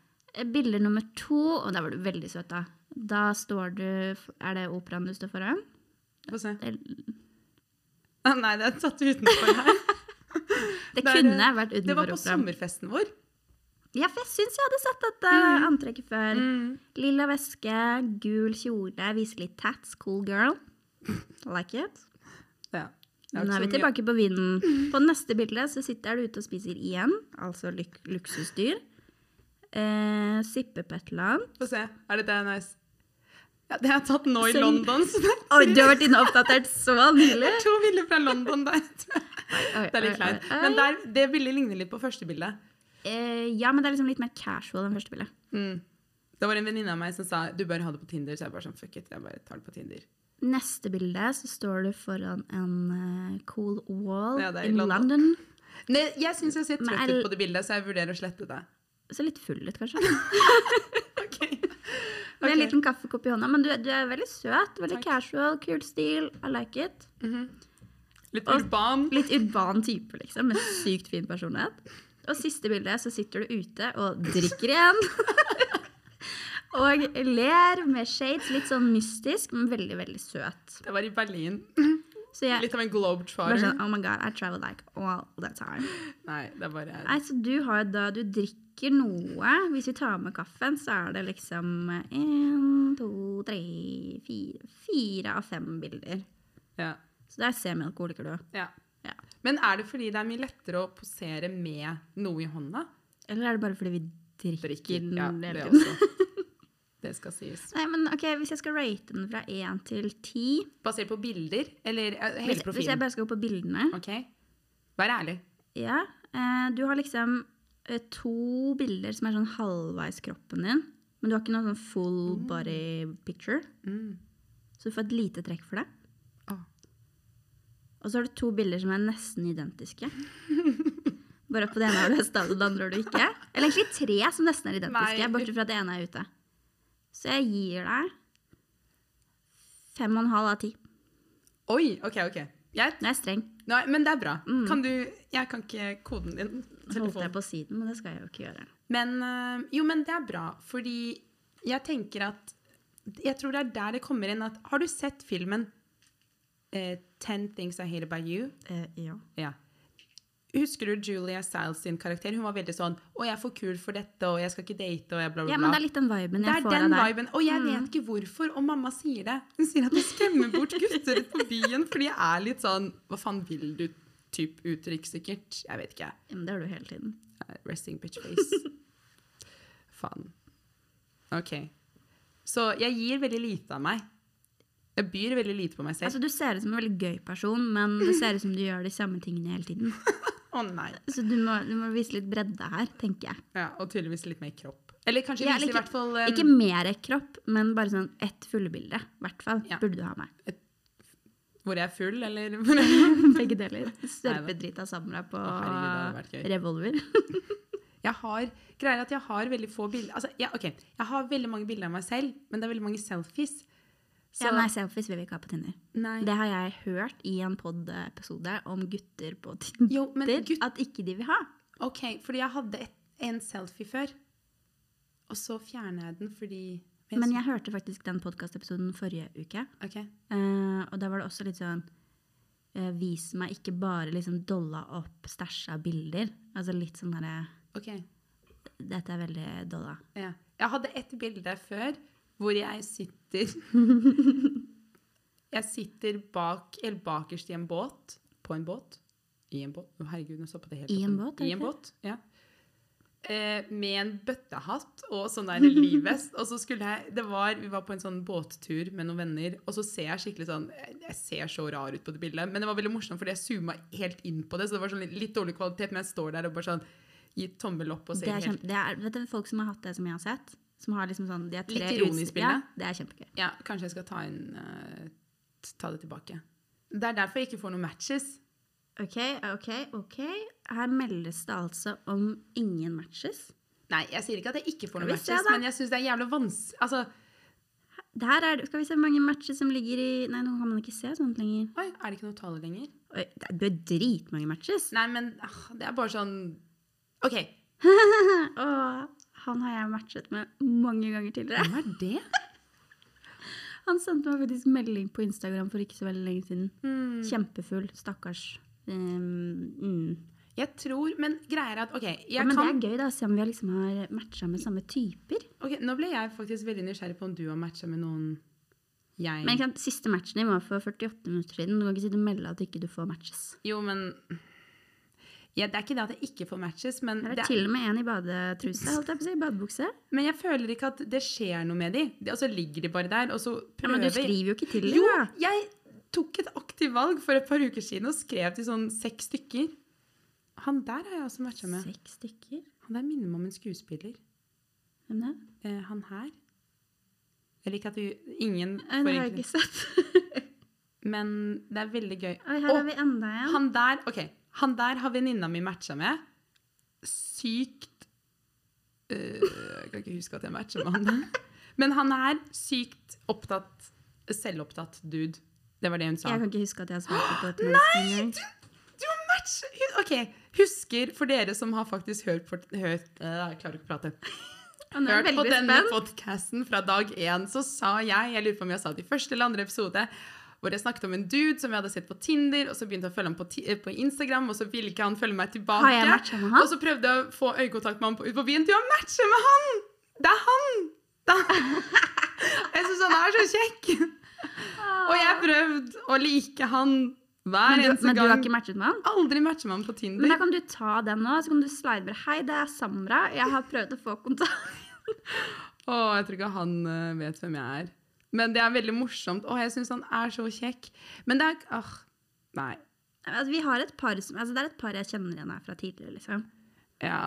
[SPEAKER 1] Bilde Eh, nummer to, og der var du veldig søt, da. Da står du Er det operaen du står foran?
[SPEAKER 2] Få se.
[SPEAKER 1] Det,
[SPEAKER 2] Ah, Nei, det er tatt utenfor her.
[SPEAKER 1] det
[SPEAKER 2] Der,
[SPEAKER 1] kunne vært
[SPEAKER 2] Det
[SPEAKER 1] utenfor
[SPEAKER 2] var på
[SPEAKER 1] operaen.
[SPEAKER 2] sommerfesten vår.
[SPEAKER 1] Ja, for jeg syns jeg hadde sett dette antrekket før.
[SPEAKER 2] Mm.
[SPEAKER 1] Lilla veske, gul kjole, viser litt tats, cool girl. I Like it.
[SPEAKER 2] Ja. Det
[SPEAKER 1] Nå er vi
[SPEAKER 2] ikke så mye-
[SPEAKER 1] tilbake på vinden. På neste bilde så sitter du ute og spiser igjen, altså luk luksusdyr. Eh, Sipper på et eller annet.
[SPEAKER 2] Få se. Er dette nice? Ja, det er tatt nå i
[SPEAKER 1] Seng.
[SPEAKER 2] London. Så det
[SPEAKER 1] Oi, du har vært inne og oppdatert så nylig!
[SPEAKER 2] er to bilder fra London der. tror jeg.
[SPEAKER 1] Oi,
[SPEAKER 2] Det er
[SPEAKER 1] oi,
[SPEAKER 2] litt kleint.
[SPEAKER 1] oi, oi.
[SPEAKER 2] Men der, det bildet ligner litt på første bildet.
[SPEAKER 1] Eh, ja, men det er liksom litt mer casual enn første bildet.
[SPEAKER 2] Mm. Det var en venninne av meg som sa du bør ha det på Tinder. Så jeg bare sånn, fuck it, jeg bare tar det på Tinder.
[SPEAKER 1] Neste bilde så står du foran en eh, cool wall
[SPEAKER 2] Ja, det er i
[SPEAKER 1] in
[SPEAKER 2] London.
[SPEAKER 1] London.
[SPEAKER 2] Nei, jeg syns jeg ser
[SPEAKER 1] Men
[SPEAKER 2] trøtt
[SPEAKER 1] er-
[SPEAKER 2] ut på det bildet, så jeg vurderer å slette det.
[SPEAKER 1] Ser litt full ut, kanskje.
[SPEAKER 2] Ok.
[SPEAKER 1] Med en
[SPEAKER 2] Ok.
[SPEAKER 1] liten kaffekopp i hånda. Men du, er- du er veldig søt. Veldig
[SPEAKER 2] Takk.
[SPEAKER 1] casual, kul stil. I like it.
[SPEAKER 2] Litt
[SPEAKER 1] Og-
[SPEAKER 2] urban.
[SPEAKER 1] Litt urban type, liksom, med sykt fin personlighet. Og siste bildet så sitter du ute og drikker igjen. og ler med shades. Litt sånn mystisk, men veldig, veldig søt.
[SPEAKER 2] Det var i Berlin.
[SPEAKER 1] Så jeg
[SPEAKER 2] Litt av en
[SPEAKER 1] bare
[SPEAKER 2] globetrotter.
[SPEAKER 1] sånn Oh my god, I travel like all the time.
[SPEAKER 2] Nei, det er bare
[SPEAKER 1] Nei, så du har jo da Du drikker noe. Hvis vi tar med kaffen, så er det liksom én, to, tre, fire Fire av fem bilder.
[SPEAKER 2] ja.
[SPEAKER 1] Så det er semialkoholiker, du.
[SPEAKER 2] Ja.
[SPEAKER 1] Ja.
[SPEAKER 2] Men er det fordi det er mye lettere å posere med noe i hånda?
[SPEAKER 1] Eller er det bare fordi vi drikker,
[SPEAKER 2] Drikker.
[SPEAKER 1] den
[SPEAKER 2] Ja,
[SPEAKER 1] hele
[SPEAKER 2] det
[SPEAKER 1] tiden?
[SPEAKER 2] også. Det skal sies.
[SPEAKER 1] Nei, men ok, Hvis jeg skal rate den fra én til ti
[SPEAKER 2] Basert på bilder? Eller
[SPEAKER 1] hvis,
[SPEAKER 2] eh, hele
[SPEAKER 1] hvis jeg
[SPEAKER 2] profilen?
[SPEAKER 1] bare skal gå på bildene
[SPEAKER 2] Ok. Vær ærlig.
[SPEAKER 1] Ja, eh, Du har liksom eh, to bilder som er sånn halvveis kroppen din. Men du har ikke noe sånn full body picture,
[SPEAKER 2] Mm.
[SPEAKER 1] så du får et lite trekk for det.
[SPEAKER 2] Å.
[SPEAKER 1] Og så har du to bilder som er nesten identiske. Bare på det ene har du høsta, og det andre har du ikke. Eller egentlig tre som nesten er identiske,
[SPEAKER 2] Nei.
[SPEAKER 1] bortsett fra at det ene er ute. Så jeg gir deg fem og en halv av ti.
[SPEAKER 2] Oi, ok, ok. Jeg,
[SPEAKER 1] Nå er jeg streng.
[SPEAKER 2] nei, men det er bra.
[SPEAKER 1] Mm.
[SPEAKER 2] Kan du Jeg kan ikke koden din.
[SPEAKER 1] Holdt jeg
[SPEAKER 2] Telefon.
[SPEAKER 1] på siden, men det skal jeg jo ikke gjøre.
[SPEAKER 2] Men eh, jo, men det er bra, fordi jeg tenker at Jeg tror det er der det kommer inn at Har du sett filmen eh, 'Ten Things I Hate About You'?
[SPEAKER 1] ja.
[SPEAKER 2] Eh, Ja. Husker du Julia Stiles sin karakter? Hun var veldig sånn 'Å, jeg er for kul for dette, og jeg skal ikke date', og jeg bla, bla, bla.
[SPEAKER 1] men det er litt den viben
[SPEAKER 2] Det
[SPEAKER 1] jeg
[SPEAKER 2] er
[SPEAKER 1] får
[SPEAKER 2] den
[SPEAKER 1] av deg. Mm.
[SPEAKER 2] viben. Og jeg vet ikke hvorfor. Og mamma sier det. Hun sier at det skremmer bort gutter på byen fordi jeg er litt sånn Hva faen vil du? Typ uttrykk, sikkert. Jeg vet ikke.
[SPEAKER 1] Ja, men det har du hele tiden.
[SPEAKER 2] Nei, Eh, Resting bitch face. faen. OK. Så jeg gir veldig lite av meg. Jeg byr veldig lite på meg selv.
[SPEAKER 1] Altså, Du ser ut som en veldig gøy person, men det ser ut som du gjør de samme tingene hele tiden. Altså,
[SPEAKER 2] Å nei.
[SPEAKER 1] Så du må, du må vise litt bredde her, tenker jeg.
[SPEAKER 2] Ja, og tydeligvis litt mer kropp. Eller kanskje
[SPEAKER 1] Ja,
[SPEAKER 2] vise
[SPEAKER 1] eller
[SPEAKER 2] i hvert fall um,
[SPEAKER 1] Ikke mer kropp, men bare sånn ett fullbilde. I hvert fall
[SPEAKER 2] Ja.
[SPEAKER 1] burde du ha meg.
[SPEAKER 2] hvor jeg er full, eller hvor jeg
[SPEAKER 1] Begge deler. Sørpedrita Samra på
[SPEAKER 2] Å, herregud, det hadde vært gøy.
[SPEAKER 1] revolver.
[SPEAKER 2] Jeg har, greier at jeg har veldig få bilder altså, ja, ok, Jeg har veldig mange bilder av meg selv, men det er veldig mange selfies. Så,
[SPEAKER 1] Ja, nei, selfies vil vi ikke ha på Tinder.
[SPEAKER 2] nei.
[SPEAKER 1] Det har jeg hørt i en pod-episode om gutter på Tinder.
[SPEAKER 2] Jo, men gutt,
[SPEAKER 1] At ikke de vil ha.
[SPEAKER 2] ok, fordi jeg hadde et, en selfie før, og så fjerner jeg den fordi
[SPEAKER 1] Men jeg hørte faktisk den podkastepisoden forrige uke.
[SPEAKER 2] Ok,
[SPEAKER 1] Eh, og da var det også litt sånn eh, Vis meg ikke bare liksom dolla opp stæsja bilder. Altså litt sånn derre
[SPEAKER 2] ok,
[SPEAKER 1] Dette er veldig dolla.
[SPEAKER 2] ja. Jeg hadde et bilde før hvor jeg sitter Jeg sitter bak, eller bakerst i en båt. På en båt. I en båt. Å, herregud, nå stoppa det helt
[SPEAKER 1] I en
[SPEAKER 2] opp.
[SPEAKER 1] båt, er det
[SPEAKER 2] I en
[SPEAKER 1] ikke?
[SPEAKER 2] båt, ja. Eh, med en bøttehatt og sånn der livvest. Og så skulle jeg det var, Vi var på en sånn båttur med noen venner, og så ser jeg skikkelig sånn Jeg ser så rar ut på det bildet, men det var veldig morsomt fordi jeg zooma helt inn på det, så det var sånn litt, litt dårlig kvalitet, men jeg står der og bare sånn gir tommel opp og
[SPEAKER 1] Det
[SPEAKER 2] ser
[SPEAKER 1] er,
[SPEAKER 2] helt
[SPEAKER 1] kjempe, det er vet du, folk som har hatt det som jeg har sett. Som har liksom sånn de har tre
[SPEAKER 2] Litt ironisk
[SPEAKER 1] uts-
[SPEAKER 2] bilde.
[SPEAKER 1] Ja, det er kjempegøy.
[SPEAKER 2] Ja, kanskje jeg skal ta inn eh, t- Ta det tilbake. Det er derfor jeg ikke får noen matches.
[SPEAKER 1] Ok, ok, ok. Her meldes det altså om ingen matches.
[SPEAKER 2] Nei, jeg sier ikke at jeg ikke får
[SPEAKER 1] Skal
[SPEAKER 2] noen
[SPEAKER 1] vi se,
[SPEAKER 2] matches,
[SPEAKER 1] da?
[SPEAKER 2] men jeg syns det er jævlig vanskelig Altså,
[SPEAKER 1] Der er det, Skal vi se hvor mange matches som ligger i Nei, nå kan man ikke se sånt lenger.
[SPEAKER 2] oi, er det ikke noen taler lenger?
[SPEAKER 1] Oi, det er- det er dritmange matches.
[SPEAKER 2] Nei, men ah, det er bare sånn OK,
[SPEAKER 1] Åh, han har jeg matchet med mange ganger tidligere.
[SPEAKER 2] hvem er det?
[SPEAKER 1] Han sendte meg faktisk melding på Instagram for ikke så veldig lenge siden.
[SPEAKER 2] Hmm.
[SPEAKER 1] Kjempefull. Stakkars. Ehm, mm.
[SPEAKER 2] Jeg tror Men greier at OK,
[SPEAKER 1] Ja,
[SPEAKER 2] jeg
[SPEAKER 1] men
[SPEAKER 2] kan
[SPEAKER 1] det er gøy, da, å se om vi liksom har matcha med samme typer.
[SPEAKER 2] Ok, Nå ble jeg faktisk veldig nysgjerrig på om du har matcha med noen jeg
[SPEAKER 1] Men ikke sant, siste matchen din var for 48 minutter siden. Du kan ikke sitte og melde at ikke du får matches.
[SPEAKER 2] Jo, men ja, Det er ikke det at jeg ikke får matches, men
[SPEAKER 1] Her er
[SPEAKER 2] det
[SPEAKER 1] til og med en i badetruse, holdt jeg på å si. Badebukse.
[SPEAKER 2] Men jeg føler ikke at det skjer noe med de. De- Og så ligger de bare der, og så
[SPEAKER 1] Ja,
[SPEAKER 2] prøver
[SPEAKER 1] men du skriver jo ikke til dem,
[SPEAKER 2] Jo,
[SPEAKER 1] da.
[SPEAKER 2] jeg tok et aktivt valg for et par uker siden og skrev til sånn seks stykker. Han der har jeg også matcha med.
[SPEAKER 1] Seks stykker?
[SPEAKER 2] Han der minner meg om en skuespiller.
[SPEAKER 1] Hvem det?
[SPEAKER 2] Eh, han her. Jeg liker at du Ingen
[SPEAKER 1] Nei,
[SPEAKER 2] får
[SPEAKER 1] det har jeg
[SPEAKER 2] egentlig
[SPEAKER 1] ikke sett.
[SPEAKER 2] Men det er veldig gøy.
[SPEAKER 1] Oi, her
[SPEAKER 2] Å,
[SPEAKER 1] har vi enda en.
[SPEAKER 2] Han der ok, han der har venninna mi matcha med. Sykt øh, Jeg kan ikke huske at jeg matcha med han. Men han er sykt opptatt, selvopptatt dude. Det var det hun sa.
[SPEAKER 1] Jeg kan ikke huske at jeg har svart på et menneske.
[SPEAKER 2] Du har match! Ok, Husker, for dere som har faktisk hørt, på, hørt øh, Jeg klarer ikke å prate.
[SPEAKER 1] Og nå er
[SPEAKER 2] Hørt
[SPEAKER 1] jeg
[SPEAKER 2] på
[SPEAKER 1] veldig
[SPEAKER 2] denne
[SPEAKER 1] spent.
[SPEAKER 2] podkasten fra dag én, så sa jeg Jeg lurer på om jeg sa det i første eller andre episode. hvor jeg snakket om en dude som jeg hadde sett på Tinder, og så begynte jeg å følge ham på, Ti- eh, på Instagram, og så ville ikke han følge meg tilbake.
[SPEAKER 1] Har jeg matcha med han?
[SPEAKER 2] Og så prøvde jeg å få øyekontakt med han på, ut på byen. Du har matcha med han! Det er han! Det er han. Jeg syns han er så kjekk. Og jeg har prøvd å like han hver
[SPEAKER 1] Men du,
[SPEAKER 2] eneste
[SPEAKER 1] men du har
[SPEAKER 2] gang.
[SPEAKER 1] ikke matchet med han?
[SPEAKER 2] Aldri matcher man på Tinder.
[SPEAKER 1] Men da kan du ta den nå, så kan du slide bare Hei, det er Samra. Jeg har prøvd å få kontakt.
[SPEAKER 2] Å, jeg tror ikke han eh, vet hvem jeg er. Men det er veldig morsomt. Å, jeg syns han er så kjekk. Men det er ikke- Åh, nei.
[SPEAKER 1] Altså, vi har et par som, altså, det er et par jeg kjenner igjen her fra tidligere, liksom.
[SPEAKER 2] Ja.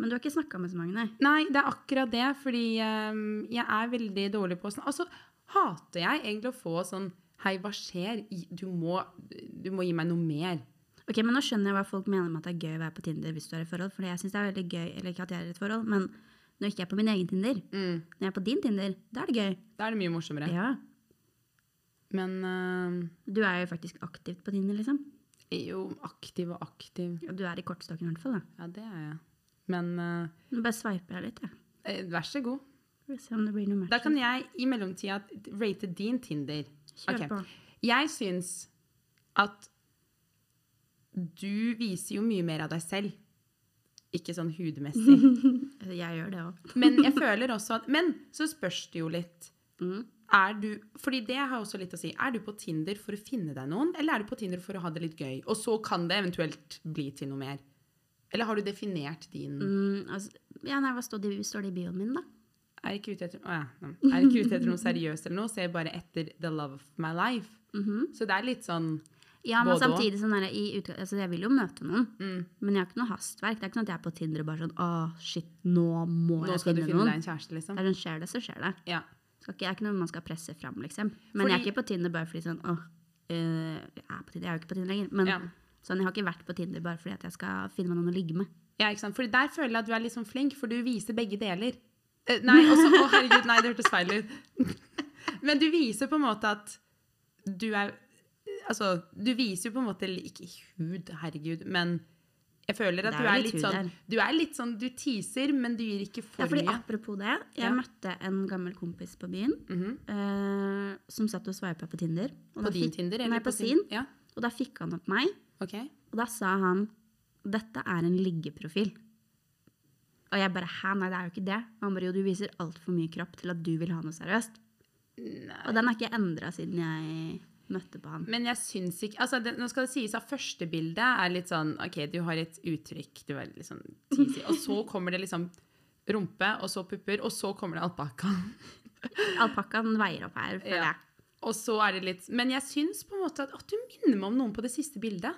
[SPEAKER 1] Men du har ikke snakka med så mange, nei.
[SPEAKER 2] Nei, det er akkurat det, fordi eh, jeg er veldig dårlig på sånn Altså, hater jeg egentlig å få sånn Hei, hva skjer? I- Du må, du må gi meg noe mer.
[SPEAKER 1] Ok, men Nå skjønner jeg hva folk mener med at det er gøy å være på Tinder hvis du er i forhold. Fordi jeg synes det er veldig gøy, eller ikke at jeg er i et forhold, men når jeg ikke er på min egen Tinder,
[SPEAKER 2] Mm.
[SPEAKER 1] når jeg er på din Tinder, da er det gøy.
[SPEAKER 2] Da er det mye morsommere.
[SPEAKER 1] Ja.
[SPEAKER 2] Men eh,
[SPEAKER 1] Du er jo faktisk aktivt på Tinder, liksom.
[SPEAKER 2] jeg er jo aktiv og aktiv.
[SPEAKER 1] Og du er i kortstokken i hvert fall. da.
[SPEAKER 2] Ja, det er jeg. Men eh,
[SPEAKER 1] Nå bare sveiper jeg litt, jeg.
[SPEAKER 2] eh, vær så god.
[SPEAKER 1] Får vi se om det blir noe mer.
[SPEAKER 2] Da kan jeg i mellomtida rate din Tinder.
[SPEAKER 1] Kjør
[SPEAKER 2] Ok.
[SPEAKER 1] på.
[SPEAKER 2] Jeg syns at du viser jo mye mer av deg selv. Ikke sånn hudmessig.
[SPEAKER 1] Altså, Jeg gjør det òg.
[SPEAKER 2] Men jeg føler også at Men så spørs det jo litt.
[SPEAKER 1] Mm.
[SPEAKER 2] Er du Fordi det har også litt å si. Er du på Tinder for å finne deg noen, eller er du på Tinder for å ha det litt gøy? Og så kan det eventuelt bli til noe mer. Eller har du definert din
[SPEAKER 1] Mm, altså, ja, nei, hva står det, står det i bioen min, da?
[SPEAKER 2] Er ikke ute etter, å ja, mm. er ikke ute etter noe seriøst eller noe, så er jeg bare etter the love of my life.
[SPEAKER 1] Mm.
[SPEAKER 2] Så det er litt sånn
[SPEAKER 1] Ja, men
[SPEAKER 2] Mhm. Både og. Mm.
[SPEAKER 1] samtidig sånn der, i utga- altså, Jeg vil jo møte noen, men jeg har ikke noe hastverk. Det er ikke sånn at jeg er på Tinder og bare sånn Å, shit, nå må
[SPEAKER 2] Nå
[SPEAKER 1] jeg
[SPEAKER 2] skal du
[SPEAKER 1] finne,
[SPEAKER 2] finne deg
[SPEAKER 1] noen.
[SPEAKER 2] en kjæreste, liksom.
[SPEAKER 1] Det er sånn, Skjer det, så skjer det.
[SPEAKER 2] Ja.
[SPEAKER 1] Skal ikke, det er ikke noe man skal presse fram, liksom. Men jeg er
[SPEAKER 2] Fordi-
[SPEAKER 1] ikke på Tinder bare fordi sånn Å, eh, jeg er på Tinder. Jeg er jo ikke på Tinder lenger. Men
[SPEAKER 2] Ja.
[SPEAKER 1] sånn, jeg har ikke vært på Tinder bare fordi at jeg skal finne meg noen å ligge med.
[SPEAKER 2] ja, ikke sant. Fordi der føler jeg at du er litt sånn flink, for du viser begge deler. Eh, nei, også, å herregud, nei, det hørtes feil ut. Men du viser på en måte at du er Altså, du viser jo på en måte li- Ikke hud, herregud, men jeg føler
[SPEAKER 1] Det
[SPEAKER 2] at
[SPEAKER 1] er
[SPEAKER 2] du
[SPEAKER 1] jo
[SPEAKER 2] er
[SPEAKER 1] litt
[SPEAKER 2] litt
[SPEAKER 1] hud
[SPEAKER 2] sånn
[SPEAKER 1] der.
[SPEAKER 2] Du er litt sånn, du teaser, men du gir ikke for
[SPEAKER 1] ja, fordi
[SPEAKER 2] mye.
[SPEAKER 1] Apropos det, jeg
[SPEAKER 2] Ja.
[SPEAKER 1] møtte en gammel kompis på byen
[SPEAKER 2] Mhm.
[SPEAKER 1] eh, som satt og sveipa på Tinder. Og da
[SPEAKER 2] På din
[SPEAKER 1] fikk-
[SPEAKER 2] Tinder?
[SPEAKER 1] Nei,
[SPEAKER 2] Eller
[SPEAKER 1] på
[SPEAKER 2] sin?
[SPEAKER 1] sin.
[SPEAKER 2] Ja,
[SPEAKER 1] Og da fikk han opp meg,
[SPEAKER 2] ok.
[SPEAKER 1] og da sa han dette er en liggeprofil. Og jeg bare hæ, nei det er jo ikke det. Og han bare jo, du viser altfor mye kropp til at du vil ha noe seriøst. Og den har ikke jeg endra siden jeg møtte på han.
[SPEAKER 2] Men jeg syns ikke altså det, Nå skal det sies at første bildet er litt sånn OK, du har et uttrykk, du er litt sånn teasy. Og så kommer det liksom rumpe, og så pupper, og så kommer det alpakka.
[SPEAKER 1] Alpakkaen veier opp her, føler
[SPEAKER 2] Ja.
[SPEAKER 1] jeg.
[SPEAKER 2] Og så er det litt Men jeg syns på en måte at Å, du minner meg om noen på det siste bildet.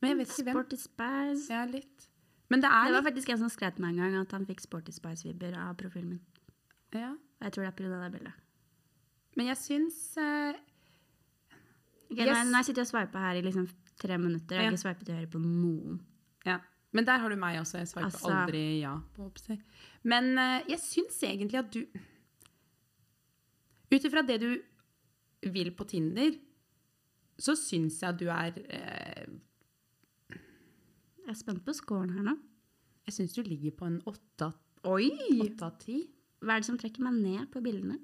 [SPEAKER 2] Men jeg vet ikke hvem.
[SPEAKER 1] Sporty Spice.
[SPEAKER 2] Ja, litt. Men det
[SPEAKER 1] Det
[SPEAKER 2] er
[SPEAKER 1] var
[SPEAKER 2] litt
[SPEAKER 1] faktisk en som skrev til meg en gang at han fikk Sporty Spice-vibber av profilen min.
[SPEAKER 2] ja.
[SPEAKER 1] Og jeg tror det er pga. det bildet.
[SPEAKER 2] Men jeg syns eh,
[SPEAKER 1] Ok,
[SPEAKER 2] Yes.
[SPEAKER 1] nå, nå har jeg sittet og sveipa her i liksom tre minutter. Jeg har
[SPEAKER 2] Ja.
[SPEAKER 1] ikke sveipet til høyre på noen.
[SPEAKER 2] Ja. Men der har du meg også. Jeg svarer
[SPEAKER 1] Altså-
[SPEAKER 2] aldri ja. på oppsett. Men eh, jeg syns egentlig at du Ut ifra det du vil på Tinder, så syns jeg at du er eh,
[SPEAKER 1] Jeg er spent på scoren her nå.
[SPEAKER 2] Jeg syns du ligger på en åtte
[SPEAKER 1] Oi!
[SPEAKER 2] åtte av ti.
[SPEAKER 1] Hva er det som trekker meg ned på bildene?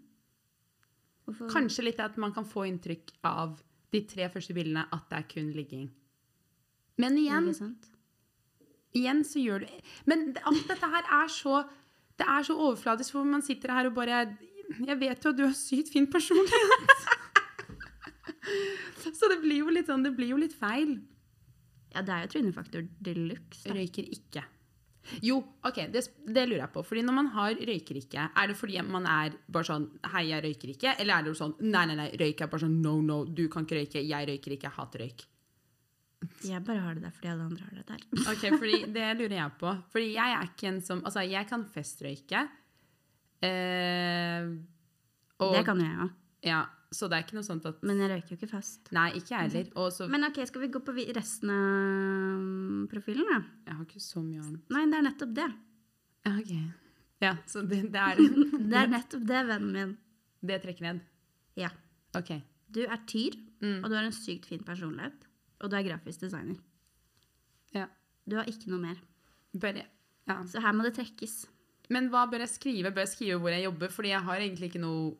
[SPEAKER 1] Hvorfor?
[SPEAKER 2] Mm. Kanskje litt at man kan få inntrykk av de tre første bildene at det er kun ligging. Men igjen,
[SPEAKER 1] Ikke sant?
[SPEAKER 2] igjen så gjør du Men det- alt dette her er så Det er så overfladisk, hvor man sitter her og bare Jeg vet jo at du har sykt fin personlighet. så det blir jo litt sånn Det blir jo litt feil.
[SPEAKER 1] Ja, det er jo trynefaktor de luxe.
[SPEAKER 2] Røyker ikke. Jo, OK, det, det lurer jeg på. Fordi når man har røyker ikke, er det fordi man er bare sånn Hei, jeg røyker ikke. Eller er det sånn Nei, nei, nei, røyk er bare sånn No, no, du kan ikke røyke. Jeg røyker ikke. Jeg hater røyk.
[SPEAKER 1] Jeg bare har det der fordi alle andre har det der.
[SPEAKER 2] Ok, fordi det lurer jeg på. Fordi jeg er ikke en som Altså, jeg kan festrøyke. Eh, og,
[SPEAKER 1] Det kan jo jeg òg,
[SPEAKER 2] Ja, så det er ikke noe sånt at
[SPEAKER 1] men jeg røyker jo ikke fast.
[SPEAKER 2] Nei, ikke jeg heller. Og så
[SPEAKER 1] Men ok, skal vi gå på vi- resten av profilen, da?
[SPEAKER 2] Jeg har ikke så mye annet.
[SPEAKER 1] Nei, det er nettopp det.
[SPEAKER 2] Ja, ok. Ja, så det, det er
[SPEAKER 1] Det er nettopp det, vennen min.
[SPEAKER 2] Det trekker ned.
[SPEAKER 1] Ja.
[SPEAKER 2] OK.
[SPEAKER 1] Du er tyr,
[SPEAKER 2] Mm.
[SPEAKER 1] og du har en sykt fin personlighet. Og du er grafisk designer.
[SPEAKER 2] Ja.
[SPEAKER 1] Du har ikke noe mer.
[SPEAKER 2] Bare ja.
[SPEAKER 1] Så her må det trekkes.
[SPEAKER 2] Men hva bør jeg skrive? Bør jeg skrive hvor jeg jobber? Fordi jeg har egentlig ikke noe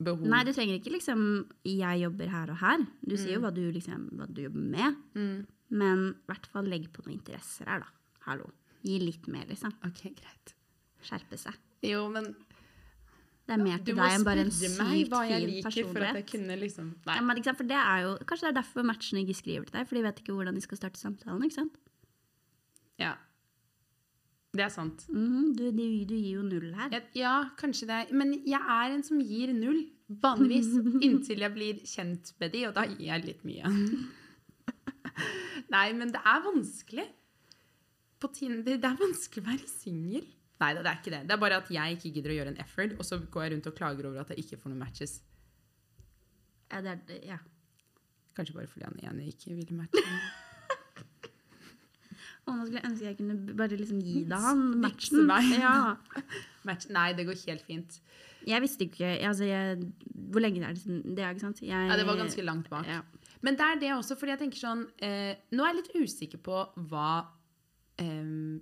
[SPEAKER 2] behov.
[SPEAKER 1] Nei, du trenger ikke liksom 'jeg jobber her og her'. Du sier
[SPEAKER 2] Mm.
[SPEAKER 1] jo hva du, liksom, hva du jobber med. Men i hvert fall legg på noen interesser her, da. Hallo. Gi litt mer, liksom.
[SPEAKER 2] Ok, greit.
[SPEAKER 1] Skjerpe seg.
[SPEAKER 2] Jo, men
[SPEAKER 1] Det er mer
[SPEAKER 2] du
[SPEAKER 1] til
[SPEAKER 2] må
[SPEAKER 1] deg enn bare en
[SPEAKER 2] spørre meg
[SPEAKER 1] sykt
[SPEAKER 2] hva jeg
[SPEAKER 1] fin
[SPEAKER 2] liker for at jeg
[SPEAKER 1] personlighet.
[SPEAKER 2] kunne liksom Nei.
[SPEAKER 1] Ja, men, ikke sant? For det er jo, kanskje det er derfor matchene ikke skriver til deg, for de vet ikke hvordan de skal starte samtalen. ikke sant?
[SPEAKER 2] Ja. Det er sant.
[SPEAKER 1] Mhm, du, du, du gir jo null her.
[SPEAKER 2] Jeg, ja, kanskje det. er- Men jeg er en som gir null, vanligvis. Inntil jeg blir kjent med de, og da gir jeg litt mye. Nei, men det er vanskelig. På Tinder Det er vanskelig å være singel. Nei da, det er ikke det. Det er bare at jeg ikke gidder å gjøre en effort, og så går jeg rundt og klager over at jeg ikke får noen matches.
[SPEAKER 1] Ja, det er, det- ja.
[SPEAKER 2] Kanskje bare fordi han ene ikke ville matche.
[SPEAKER 1] Og nå skulle jeg ønske jeg kunne b- bare liksom gi deg han matchen.
[SPEAKER 2] meg.
[SPEAKER 1] Ja.
[SPEAKER 2] Match. Nei, det går helt fint.
[SPEAKER 1] Jeg visste ikke altså jeg, Hvor lenge det er siden det, er, ikke sant? Jeg,
[SPEAKER 2] Ja, det var ganske langt bak.
[SPEAKER 1] Ja.
[SPEAKER 2] Men det er det også, fordi jeg tenker sånn eh, Nå er jeg litt usikker på hva em,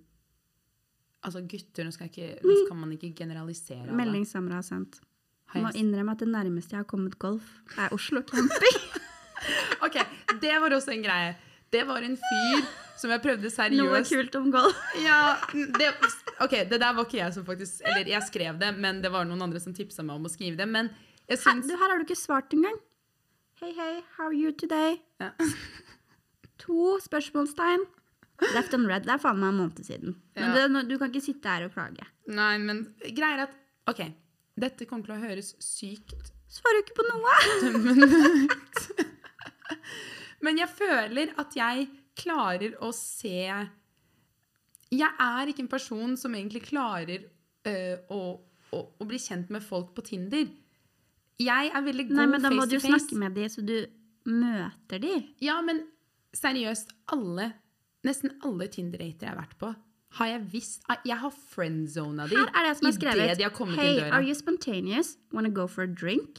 [SPEAKER 2] Altså gutter, nå skal jeg ikke, kan man ikke generalisere. alle.
[SPEAKER 1] Melding Samra har sendt.
[SPEAKER 2] Har
[SPEAKER 1] Må
[SPEAKER 2] jeg-
[SPEAKER 1] innrømme at det nærmeste jeg har kommet golf, er Oslo camping.
[SPEAKER 2] Ok, det var også en greie. Det var en fyr som jeg prøvde
[SPEAKER 1] Noe
[SPEAKER 2] seriøst
[SPEAKER 1] kult om golf.
[SPEAKER 2] Ja, det, ok, det der var ikke jeg som faktisk Eller jeg skrev det, men det var noen andre som tipsa meg om å skrive det. Men jeg
[SPEAKER 1] Her,
[SPEAKER 2] syns
[SPEAKER 1] du, her har du ikke svart engang. Hei, hei, how are you today?
[SPEAKER 2] ja.
[SPEAKER 1] To spørsmålstegn. Left and red. Det er faen meg en måned siden. Men
[SPEAKER 2] Ja.
[SPEAKER 1] det, du kan ikke sitte her og klage.
[SPEAKER 2] Nei, men greier at Ok, dette kommer til å høres sykt
[SPEAKER 1] Svarer jo ikke på noe!
[SPEAKER 2] Men jeg føler at jeg klarer å se Jeg er ikke en person som egentlig klarer øh, å, å, å bli kjent med folk på Tinder. Jeg er veldig god
[SPEAKER 1] Nei, men da må
[SPEAKER 2] face
[SPEAKER 1] du
[SPEAKER 2] to
[SPEAKER 1] jo
[SPEAKER 2] face.
[SPEAKER 1] snakke med de, så du møter de.
[SPEAKER 2] Ja, men seriøst, alle, nesten alle Tinder-dater jeg har vært på, har jeg visst Jeg har friendzona de
[SPEAKER 1] Her er det som
[SPEAKER 2] i
[SPEAKER 1] er skrevet.
[SPEAKER 2] det de har kommet
[SPEAKER 1] hey,
[SPEAKER 2] inn døra.
[SPEAKER 1] are you spontaneous? Wanna go for a drink?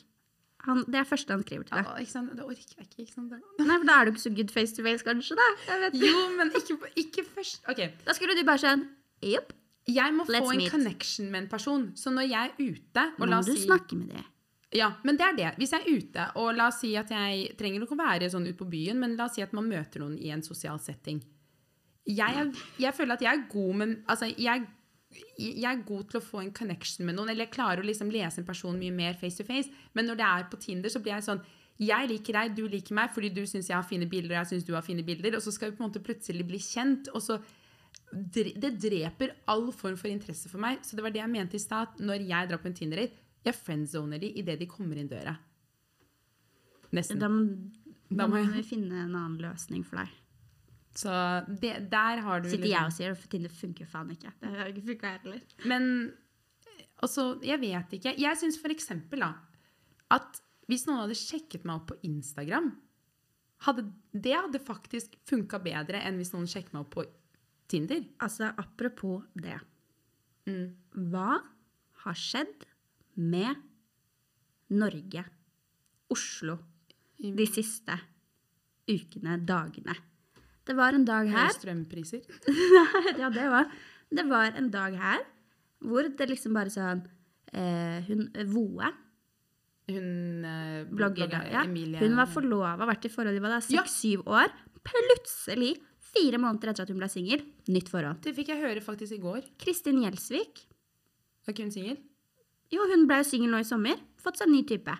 [SPEAKER 1] Han, det er første han skriver til deg.
[SPEAKER 2] Ja, ikke sant? Det orker jeg ikke. ikke sant?
[SPEAKER 1] Nei, for Da er du ikke så good face to face, kanskje. Da Jeg vet. ikke.
[SPEAKER 2] Jo, men ikke, ikke først OK.
[SPEAKER 1] da skulle du bare sånn Jopp.
[SPEAKER 2] Jeg må
[SPEAKER 1] Let's
[SPEAKER 2] få en
[SPEAKER 1] meet.
[SPEAKER 2] connection med en person. Så når jeg er ute og
[SPEAKER 1] Nå
[SPEAKER 2] la
[SPEAKER 1] må
[SPEAKER 2] oss
[SPEAKER 1] du
[SPEAKER 2] si,
[SPEAKER 1] snakke med de.
[SPEAKER 2] ja, men det er det. Hvis jeg er ute, og la oss si at jeg trenger ikke å være sånn ute på byen, men la oss si at man møter noen i en sosial setting. Jeg, er, jeg føler at jeg er god, men altså, jeg, jeg er god til å få en connection med noen, eller jeg klarer å liksom lese en person mye mer face to face, men når det er på Tinder, så blir jeg sånn jeg liker deg, du liker meg, fordi du syns jeg har fine bilder, og jeg syns du har fine bilder, og så skal vi på en måte plutselig bli kjent, og så dre- det dreper all form for interesse for meg. Så det var det jeg mente i stad. at Når jeg drar på en Tinder-date, jeg friendzoner de idet de kommer inn døra. Nesten.
[SPEAKER 1] Da må,
[SPEAKER 2] Da
[SPEAKER 1] da
[SPEAKER 2] må
[SPEAKER 1] må
[SPEAKER 2] jeg-
[SPEAKER 1] vi finne en annen løsning for deg.
[SPEAKER 2] Så det, der har du
[SPEAKER 1] Sitter
[SPEAKER 2] liksom-
[SPEAKER 1] jeg og sier for Tinder funker faen ikke. Det har ikke funka heller.
[SPEAKER 2] Men altså, jeg vet ikke. Jeg syns for eksempel da, at hvis noen hadde sjekket meg opp på Instagram, hadde, det hadde faktisk funka bedre enn hvis noen sjekket meg opp på Tinder.
[SPEAKER 1] Altså, apropos det.
[SPEAKER 2] Mm.
[SPEAKER 1] Hva har skjedd med Norge, Oslo, de siste ukene, dagene? Det var en dag
[SPEAKER 2] Høye
[SPEAKER 1] her
[SPEAKER 2] strømpriser.
[SPEAKER 1] Ja, det var Det var en dag her hvor det liksom bare sånn eh, Hun Voe,
[SPEAKER 2] Hun eh,
[SPEAKER 1] blogger,
[SPEAKER 2] blogger,
[SPEAKER 1] ja,
[SPEAKER 2] Emilie
[SPEAKER 1] hun var forlova, vært i forhold i hva da,
[SPEAKER 2] Ja.
[SPEAKER 1] seks-syv år. Plutselig, fire måneder etter at hun ble singel, nytt forhold.
[SPEAKER 2] Det fikk jeg høre faktisk i går.
[SPEAKER 1] Kristin Gjelsvik
[SPEAKER 2] Var ikke hun singel?
[SPEAKER 1] Jo, hun ble jo singel nå i sommer. Fått seg ny type.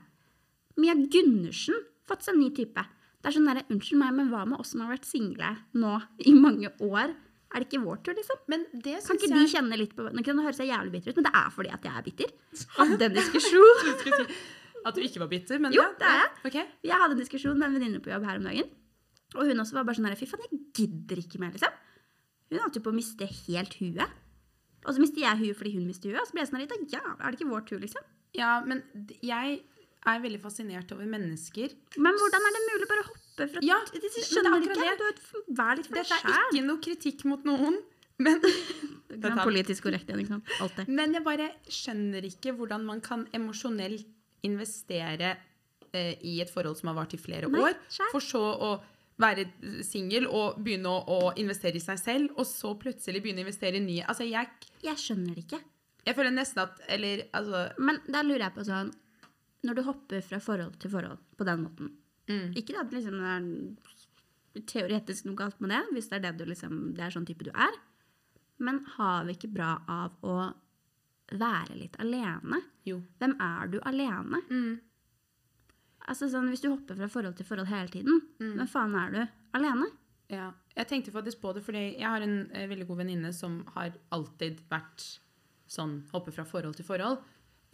[SPEAKER 1] Mia Gundersen. Fått seg ny type. Det er sånn derre Unnskyld meg, men hva med oss som har vært single nå i mange år? Er det ikke vår tur, liksom?
[SPEAKER 2] Men det
[SPEAKER 1] Kan
[SPEAKER 2] syns
[SPEAKER 1] ikke
[SPEAKER 2] jeg
[SPEAKER 1] de kjenne litt på Nå kan det høres jeg jævlig bitter ut, men det er fordi at jeg er bitter. Hadde en diskusjon.
[SPEAKER 2] Skulle si At du ikke var bitter, men
[SPEAKER 1] Jo,
[SPEAKER 2] ja,
[SPEAKER 1] det er jeg.
[SPEAKER 2] ja, ok.
[SPEAKER 1] Jeg hadde en diskusjon med en venninne på jobb her om dagen. Og hun også var bare sånn her Fy faen, jeg gidder ikke mer, liksom. Hun holdt jo på å miste helt huet. Og så mister jeg huet fordi hun mister huet. Og så ble jeg sånn her «Da jævla, er det ikke vår tur, liksom?
[SPEAKER 2] Ja, men d- jeg er veldig fascinert over mennesker.
[SPEAKER 1] Men hvordan er det mulig å bare hoppe fra
[SPEAKER 2] Ja,
[SPEAKER 1] Jeg
[SPEAKER 2] men det er
[SPEAKER 1] skjønner
[SPEAKER 2] akkurat
[SPEAKER 1] ikke.
[SPEAKER 2] det.
[SPEAKER 1] Du er et- Vær litt for deg
[SPEAKER 2] Dette er ikke noe kritikk mot noen, men
[SPEAKER 1] Det er politisk korrekt igjen, ikke sant? Alt det.
[SPEAKER 2] Men jeg bare skjønner ikke hvordan man kan emosjonelt investere eh, i et forhold som har vart i flere
[SPEAKER 1] Nei,
[SPEAKER 2] år,
[SPEAKER 1] skjær.
[SPEAKER 2] for så å være singel og begynne å, å investere i seg selv, og så plutselig begynne å investere i nye Altså, jeg,
[SPEAKER 1] Jeg skjønner det ikke.
[SPEAKER 2] jeg føler nesten at Eller altså
[SPEAKER 1] Men da lurer jeg på sånn når du hopper fra forhold til forhold på den måten Ikke at liksom det er teoretisk noe galt med det, hvis det er, det du liksom, det er sånn type du er. Men har vi ikke bra av å være litt alene?
[SPEAKER 2] Jo.
[SPEAKER 1] Hvem er du alene? Altså sånn, Hvis du hopper fra forhold til forhold hele tiden, hvem faen er du alene?
[SPEAKER 2] Ja. Jeg tenkte faktisk på det, fordi jeg har en eh, veldig god venninne som har alltid vært sånn hoppe fra forhold til forhold.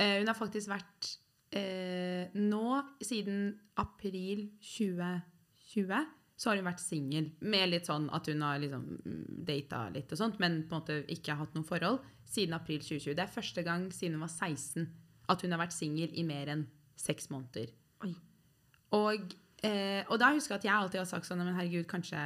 [SPEAKER 2] Eh, hun har faktisk vært eh, nå, siden april 2020, så har hun vært singel. Med litt sånn at hun har liksom mm, data litt og sånt, men på en måte ikke har hatt noe forhold siden april 2020. Det er første gang siden hun var 16 at hun har vært singel i mer enn seks måneder.
[SPEAKER 1] Oi.
[SPEAKER 2] Og, eh, og da husker jeg at jeg alltid har sagt sånn Men herregud, kanskje,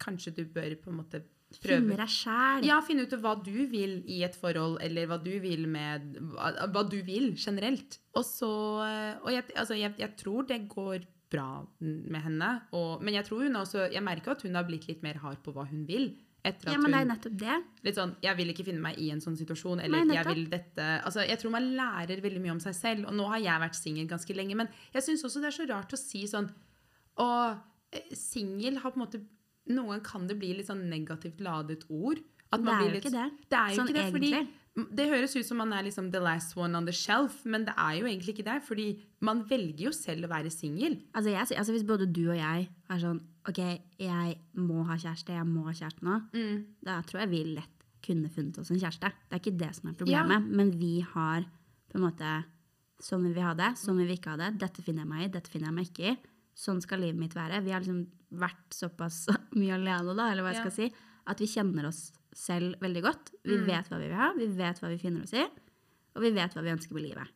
[SPEAKER 2] kanskje du bør på en måte prøve
[SPEAKER 1] Finne deg sjæl.
[SPEAKER 2] ja, finne ut hva du vil i et forhold, eller hva du vil med Hva, hva du vil generelt. Og så eh, Og jeg, altså, jeg, jeg tror det går bra med henne, og, men jeg tror hun har også Jeg merker at hun har blitt litt mer hard på hva hun vil. Etter at
[SPEAKER 1] Ja, men det er
[SPEAKER 2] hun
[SPEAKER 1] nettopp det.
[SPEAKER 2] Litt sånn, jeg vil ikke finne meg i en sånn situasjon, eller
[SPEAKER 1] Nei,
[SPEAKER 2] jeg
[SPEAKER 1] nettopp.
[SPEAKER 2] vil dette altså, Jeg tror man lærer veldig mye om seg selv, og nå har jeg vært singel ganske lenge, men jeg syns også det er så rart å si sånn Å, eh, singel har på en måte Noen kan det bli litt sånn negativt ladet ord. At
[SPEAKER 1] Det er
[SPEAKER 2] blir
[SPEAKER 1] jo
[SPEAKER 2] litt,
[SPEAKER 1] ikke det.
[SPEAKER 2] Det er jo
[SPEAKER 1] Sånn
[SPEAKER 2] ikke det, fordi
[SPEAKER 1] egentlig.
[SPEAKER 2] m- det høres ut som man er liksom the last one on the shelf, men det er jo egentlig ikke det. Fordi man velger jo selv å være singel.
[SPEAKER 1] Altså, jeg, sy- altså Hvis både du og jeg er sånn OK, jeg må ha kjæreste, jeg må ha kjæreste nå, da tror jeg vi lett kunne funnet oss en kjæreste. Det er ikke det som er problemet, men vi har på en måte Sånn vil vi ha det, sånn vil vi ikke ha det. Dette finner jeg meg i, dette finner jeg meg ikke i. Sånn skal livet mitt være. Vi har liksom vært såpass mye alene, da, eller hva jeg
[SPEAKER 2] Ja.
[SPEAKER 1] skal si, at vi kjenner oss selv veldig godt. Vi vet hva vi vil ha, vi vet hva vi finner oss i, og vi vet hva vi ønsker med livet.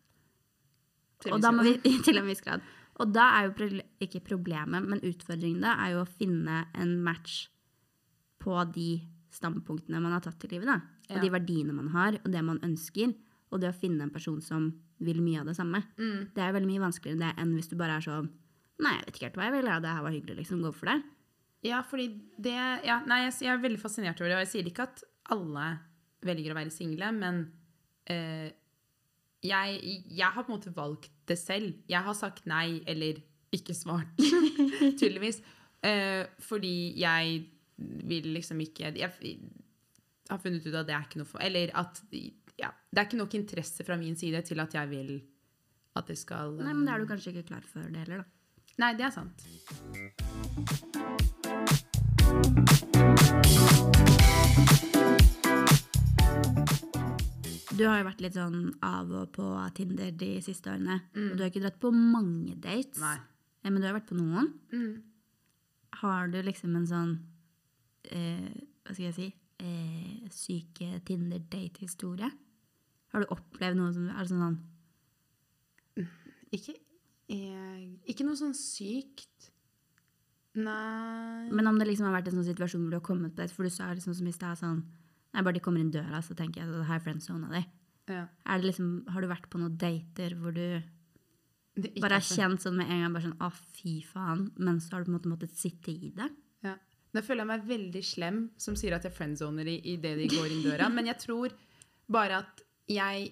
[SPEAKER 1] Og da må vi, til en viss grad. Og da er jo proble- ikke problemet, men utfordringen da, er jo å finne en match på de standpunktene man har tatt i livet. da. Og
[SPEAKER 2] Ja.
[SPEAKER 1] de verdiene man har, og det man ønsker. Og det å finne en person som vil mye av det samme. Det er jo veldig mye vanskeligere det enn hvis du bare er sånn Nei, jeg vet ikke helt hva jeg vil. Ja, det her var hyggelig, liksom. Gå for det.
[SPEAKER 2] Ja, fordi det ja, Nei, jeg, jeg er veldig fascinert over det. Og jeg sier ikke at alle velger å være single, men eh, jeg, jeg har på en måte valgt det selv. Jeg har sagt nei eller ikke svart, tydeligvis. Eh, fordi jeg vil liksom ikke Jeg har funnet ut at det er ikke noe for Eller at ja, det er ikke nok interesse fra min side til at jeg vil at det skal
[SPEAKER 1] Nei, men det er du kanskje ikke klar for det heller, da.
[SPEAKER 2] Nei, det er sant.
[SPEAKER 1] Du har jo vært litt sånn av og på Tinder de siste årene. Og du har ikke dratt på mange dates,
[SPEAKER 2] Nei.
[SPEAKER 1] Eh, men du har vært på noen.
[SPEAKER 2] Mm.
[SPEAKER 1] Har du liksom en sånn eh, Hva skal jeg si eh, Syke Tinder-date-historie? Har du opplevd noe som er sånn sånn
[SPEAKER 2] Ikke, eh, ikke noe sånn sykt. Nei
[SPEAKER 1] Men om det liksom har vært en sånn situasjon hvor du har kommet på det, for du sa liksom som i stad sånn Nei, bare de kommer inn døra, så tenker jeg at her er friendzona di.
[SPEAKER 2] ja.
[SPEAKER 1] Er det liksom, har du vært på noen dater hvor du
[SPEAKER 2] det, ikke
[SPEAKER 1] bare har
[SPEAKER 2] at det-
[SPEAKER 1] kjent sånn med en gang bare sånn Å, fy faen. Men så har du på en måte måttet sitte i det.
[SPEAKER 2] Ja. Nå føler jeg meg veldig slem som sier at jeg friendzoner i, i det de går inn døra, men jeg tror bare at jeg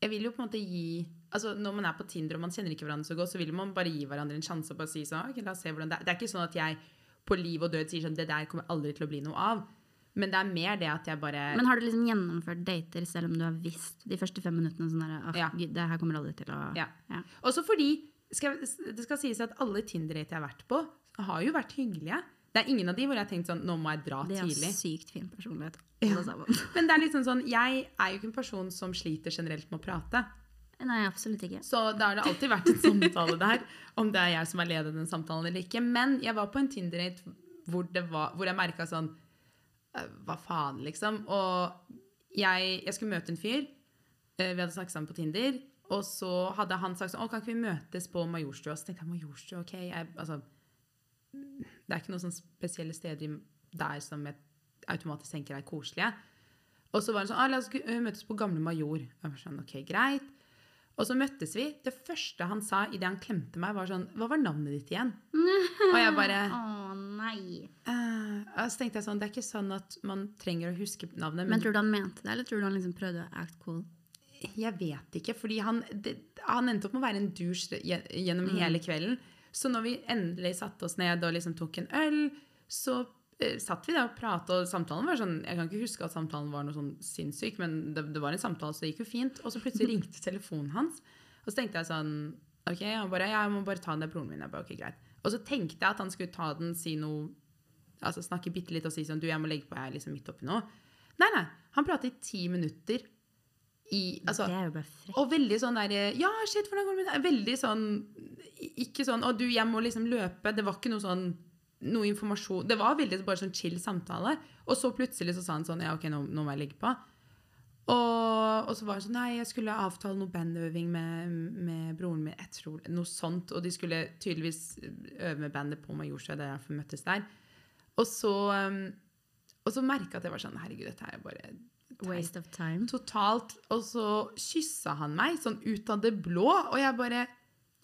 [SPEAKER 2] Jeg vil jo på en måte gi Altså Når man er på Tinder og man kjenner ikke hverandre så godt, så vil man bare gi hverandre en sjanse og bare si sånn ok, la oss se hvordan Det er Det er ikke sånn at jeg på liv og død sier sånn Det der kommer aldri til å bli noe av. Men det er mer det at jeg bare
[SPEAKER 1] Men har du liksom gjennomført dater selv om du har visst de første fem minuttene sånn der, «Åh,
[SPEAKER 2] Ja.
[SPEAKER 1] gud, det her kommer aldri til å
[SPEAKER 2] Ja.
[SPEAKER 1] Ja.
[SPEAKER 2] Også fordi skal, det skal sies at alle Tinder-date jeg har vært på, har jo vært hyggelige. Det er ingen av de hvor jeg har tenkt sånn Nå må jeg dra
[SPEAKER 1] Det er
[SPEAKER 2] tidlig.
[SPEAKER 1] sykt fin personlighet. Alle sammen.
[SPEAKER 2] Men det er liksom sånn, jeg er jo ikke en person som sliter generelt med å prate.
[SPEAKER 1] Nei, absolutt ikke.
[SPEAKER 2] Så da har det alltid vært en samtale der, om det er jeg som har ledet den samtalen eller ikke. Men jeg var på en Tinder-date hvor, det var- hvor jeg merka sånn eh, Hva faen, liksom? Og jeg, jeg skulle møte en fyr. eh, Vi hadde snakket sammen på Tinder. Og så hadde han sagt sånn Å, kan ikke vi møtes på Majorstua? Så tenkte jeg Majorstua, ok. Jeg, altså, det er ikke noen sånn spesielle steder i- der som jeg automatisk tenker er koselige. Og så var han sånn, ah, la oss gu- eh, møtes på Gamle Major. Jeg var sånn, ok, greit. Og så møttes vi. Det første han sa idet han klemte meg, var sånn, hva var navnet ditt igjen? Og jeg bare,
[SPEAKER 1] Å nei.
[SPEAKER 2] eh, og så tenkte jeg sånn, det er ikke sånn at man trenger å huske navnet.
[SPEAKER 1] Men tror du han mente det, eller tror du han liksom prøvde å act cool?
[SPEAKER 2] Jeg vet ikke, fordi han, det, han endte opp med å være en douche gje- gjennom hele kvelden. Så når vi endelig satte oss ned og liksom tok en øl, så eh, satt vi der og pratet, og samtalen var sånn Jeg kan ikke huske at samtalen var noe sånn sinnssyk, men det, det var en samtale, så det gikk jo fint. Og så plutselig ringte telefonen hans, og så tenkte jeg sånn OK, han bare, jeg må bare ta den der broren min. Jeg bare, ok, greit. Og så tenkte jeg at han skulle ta den, si noe altså snakke bitte litt og si sånn Du, jeg må legge på, jeg er liksom midt oppi nå. Nei, nei. Han prater i ti minutter i Altså
[SPEAKER 1] Det er jo bare frekt.
[SPEAKER 2] og veldig sånn der Ja, shit, hvordan går det med deg? Veldig sånn Ikke sånn Å, du, jeg må liksom løpe. Det var ikke noe sånn noe informasjon Det var veldig bare sånn chill samtale. Og så plutselig så sa han sånn Ja, OK, nå, nå må jeg legge på. Og, og så var han sånn Nei, jeg skulle avtale noe bandøving med, med broren min. Jeg tror Noe sånt. Og de skulle tydeligvis øve med bandet på Majorstua. Det er derfor vi møttes der. Og så um, Og så merka jeg at jeg var sånn Herregud, dette her er bare teit
[SPEAKER 1] Waste of time.
[SPEAKER 2] totalt. Og så kyssa han meg sånn ut av det blå, og jeg bare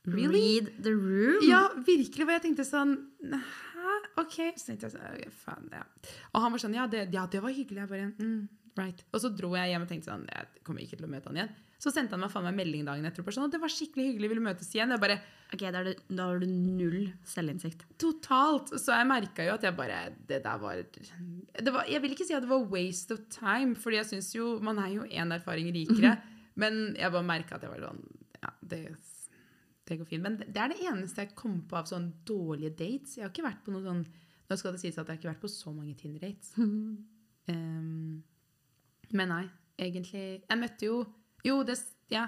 [SPEAKER 2] Really?
[SPEAKER 1] Read the room.
[SPEAKER 2] Ja, virkelig. Og jeg tenkte sånn Hæ? OK. Så tenkte jeg sånn «Ok, Faen, ja. Og han var sånn Ja, det, ja, det var hyggelig. Jeg bare mm, Right. Og så dro jeg hjem og tenkte sånn Jeg kommer ikke til å møte han igjen. Så sendte han meg faen meg melding dagen etterpå sånn at det var skikkelig hyggelig, vil du møtes igjen? Jeg bare
[SPEAKER 1] Ok, da har, du, da har du null selvinnsikt.
[SPEAKER 2] Totalt. Så jeg merka jo at jeg bare Det der var, det var Jeg vil ikke si at det var waste of time, fordi jeg syns jo Man er jo én erfaring rikere. Men jeg bare merka at jeg var sånn Ja, det, det går fint. Men det er det eneste jeg kom på av sånn dårlige dates. Jeg har ikke vært på noen sånn Nå skal det sies at jeg har ikke vært på så mange Tinder-dates. Ehm, men nei, egentlig Jeg møtte jo Jo, det Ja.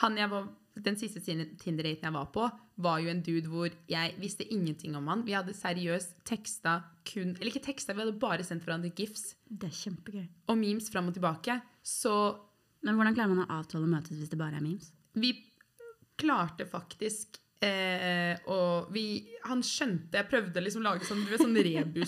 [SPEAKER 2] Han jeg var Den siste Tin- Tinder-daten jeg var på, var jo en dude hvor jeg visste ingenting om han. Vi hadde seriøst teksta kun Eller ikke teksta, vi hadde bare sendt hverandre gifs
[SPEAKER 1] Det er kjempegøy.
[SPEAKER 2] og memes fram og tilbake. Så
[SPEAKER 1] Men hvordan klarer man å avtale å møtes hvis det bare er memes?
[SPEAKER 2] vi klarte faktisk eh, og vi, han skjønte Jeg prøvde liksom å lage sånn, du vet, sånn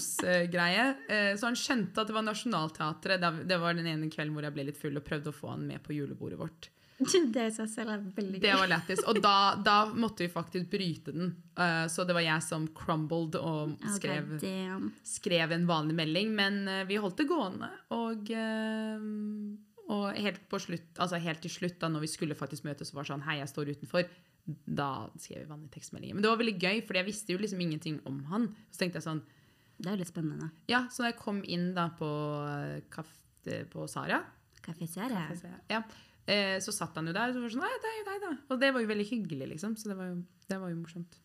[SPEAKER 2] rebus-greie. Eh, så han skjønte at det var Nationaltheatret. Det, det var den ene kvelden hvor jeg ble litt full og prøvde å få han med på julebordet vårt.
[SPEAKER 1] Det i seg selv er veldig
[SPEAKER 2] Det var lættis. Og da, da måtte vi faktisk bryte den. Eh, så det var jeg som crumbled og skrev,
[SPEAKER 1] Ok, damn.
[SPEAKER 2] skrev en vanlig melding. Men eh, vi holdt det gående. Og, eh, og helt, på slutt, altså helt til slutt, da når vi skulle faktisk møtes, så var det sånn Hei, jeg står utenfor. Da skrev vi vanlige tekstmeldinger. Men det var veldig gøy, for jeg visste jo liksom ingenting om han. Så tenkte jeg sånn
[SPEAKER 1] Det er jo litt spennende.
[SPEAKER 2] Ja, så da jeg kom inn da på, eh, kaf, eh, på Sara
[SPEAKER 1] Kafé Sierra.
[SPEAKER 2] ja. Eh, Så satt han jo der, og så var det sånn Nei, det er jo deg, da. Og det var jo veldig hyggelig, liksom. Så det var jo, det var jo morsomt.